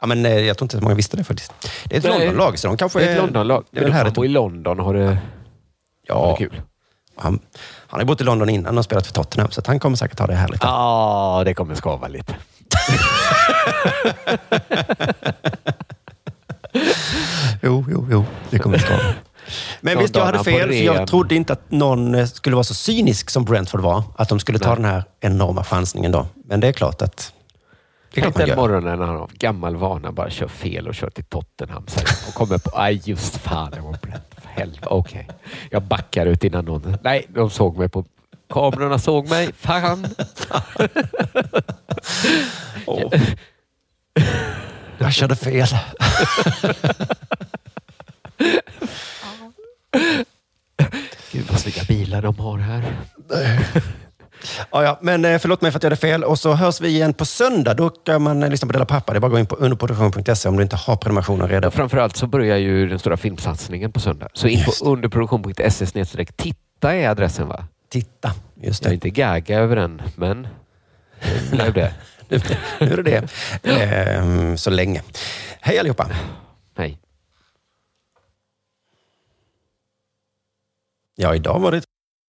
Speaker 6: ja, men, eh, jag tror inte så många visste det faktiskt. Det är ett
Speaker 5: Nej.
Speaker 6: Londonlag, så de kanske...
Speaker 5: eh, Det är ett Londonlag.
Speaker 6: Det är väl
Speaker 5: Men de
Speaker 6: härligt.
Speaker 5: bor i London och har det, har
Speaker 6: Ja,
Speaker 5: det kul.
Speaker 6: han, han har ju bott i London innan och spelat för Tottenham, så att han kommer säkert ha det härligt.
Speaker 5: Ja, det kommer skava lite.
Speaker 6: Jo, jo, jo. Det kommer att vara. Men
Speaker 5: Någon
Speaker 6: visst, jag
Speaker 5: dag
Speaker 6: hade
Speaker 5: när
Speaker 6: fel.
Speaker 5: han
Speaker 6: För
Speaker 5: på
Speaker 6: jag
Speaker 5: ren-
Speaker 6: trodde inte att någon eh, skulle vara så cynisk som Brentford var. Att de skulle ta
Speaker 5: Nej.
Speaker 6: den här enorma chansningen då. Men det är klart att... Det är
Speaker 5: Tänk
Speaker 6: klart man
Speaker 5: den
Speaker 6: gör.
Speaker 5: morgonen när han av gammal vana bara kör fel och kör till Tottenham sen och kommer på aj just fan, jag var bränd. För helvete, okej. Jag backar ut innan någon... Nej, de såg mig på... Kamerorna såg mig. Fan!
Speaker 6: Åh. Jag körde fel.
Speaker 5: Gud vad snygga bilar de har här.
Speaker 6: Ja, ja, men eh, förlåt mig för att jag hade fel. Och så hörs vi igen på söndag. Då kan man eh, lyssna på Della Pappa. Det är bara att gå in på underproduktion.se om du inte har prenumerationen redan.
Speaker 5: Och framförallt så börjar ju den stora filmsatsningen på söndag. Så in på underproduktion.se snedstreck E titta är adressen va?
Speaker 6: Titta, just
Speaker 5: Jag är
Speaker 6: det.
Speaker 5: inte gaga över den, men det blev det.
Speaker 6: Nu är det det. Ehm, så länge. Hej allihopa.
Speaker 5: Hej.
Speaker 6: Ja, idag var det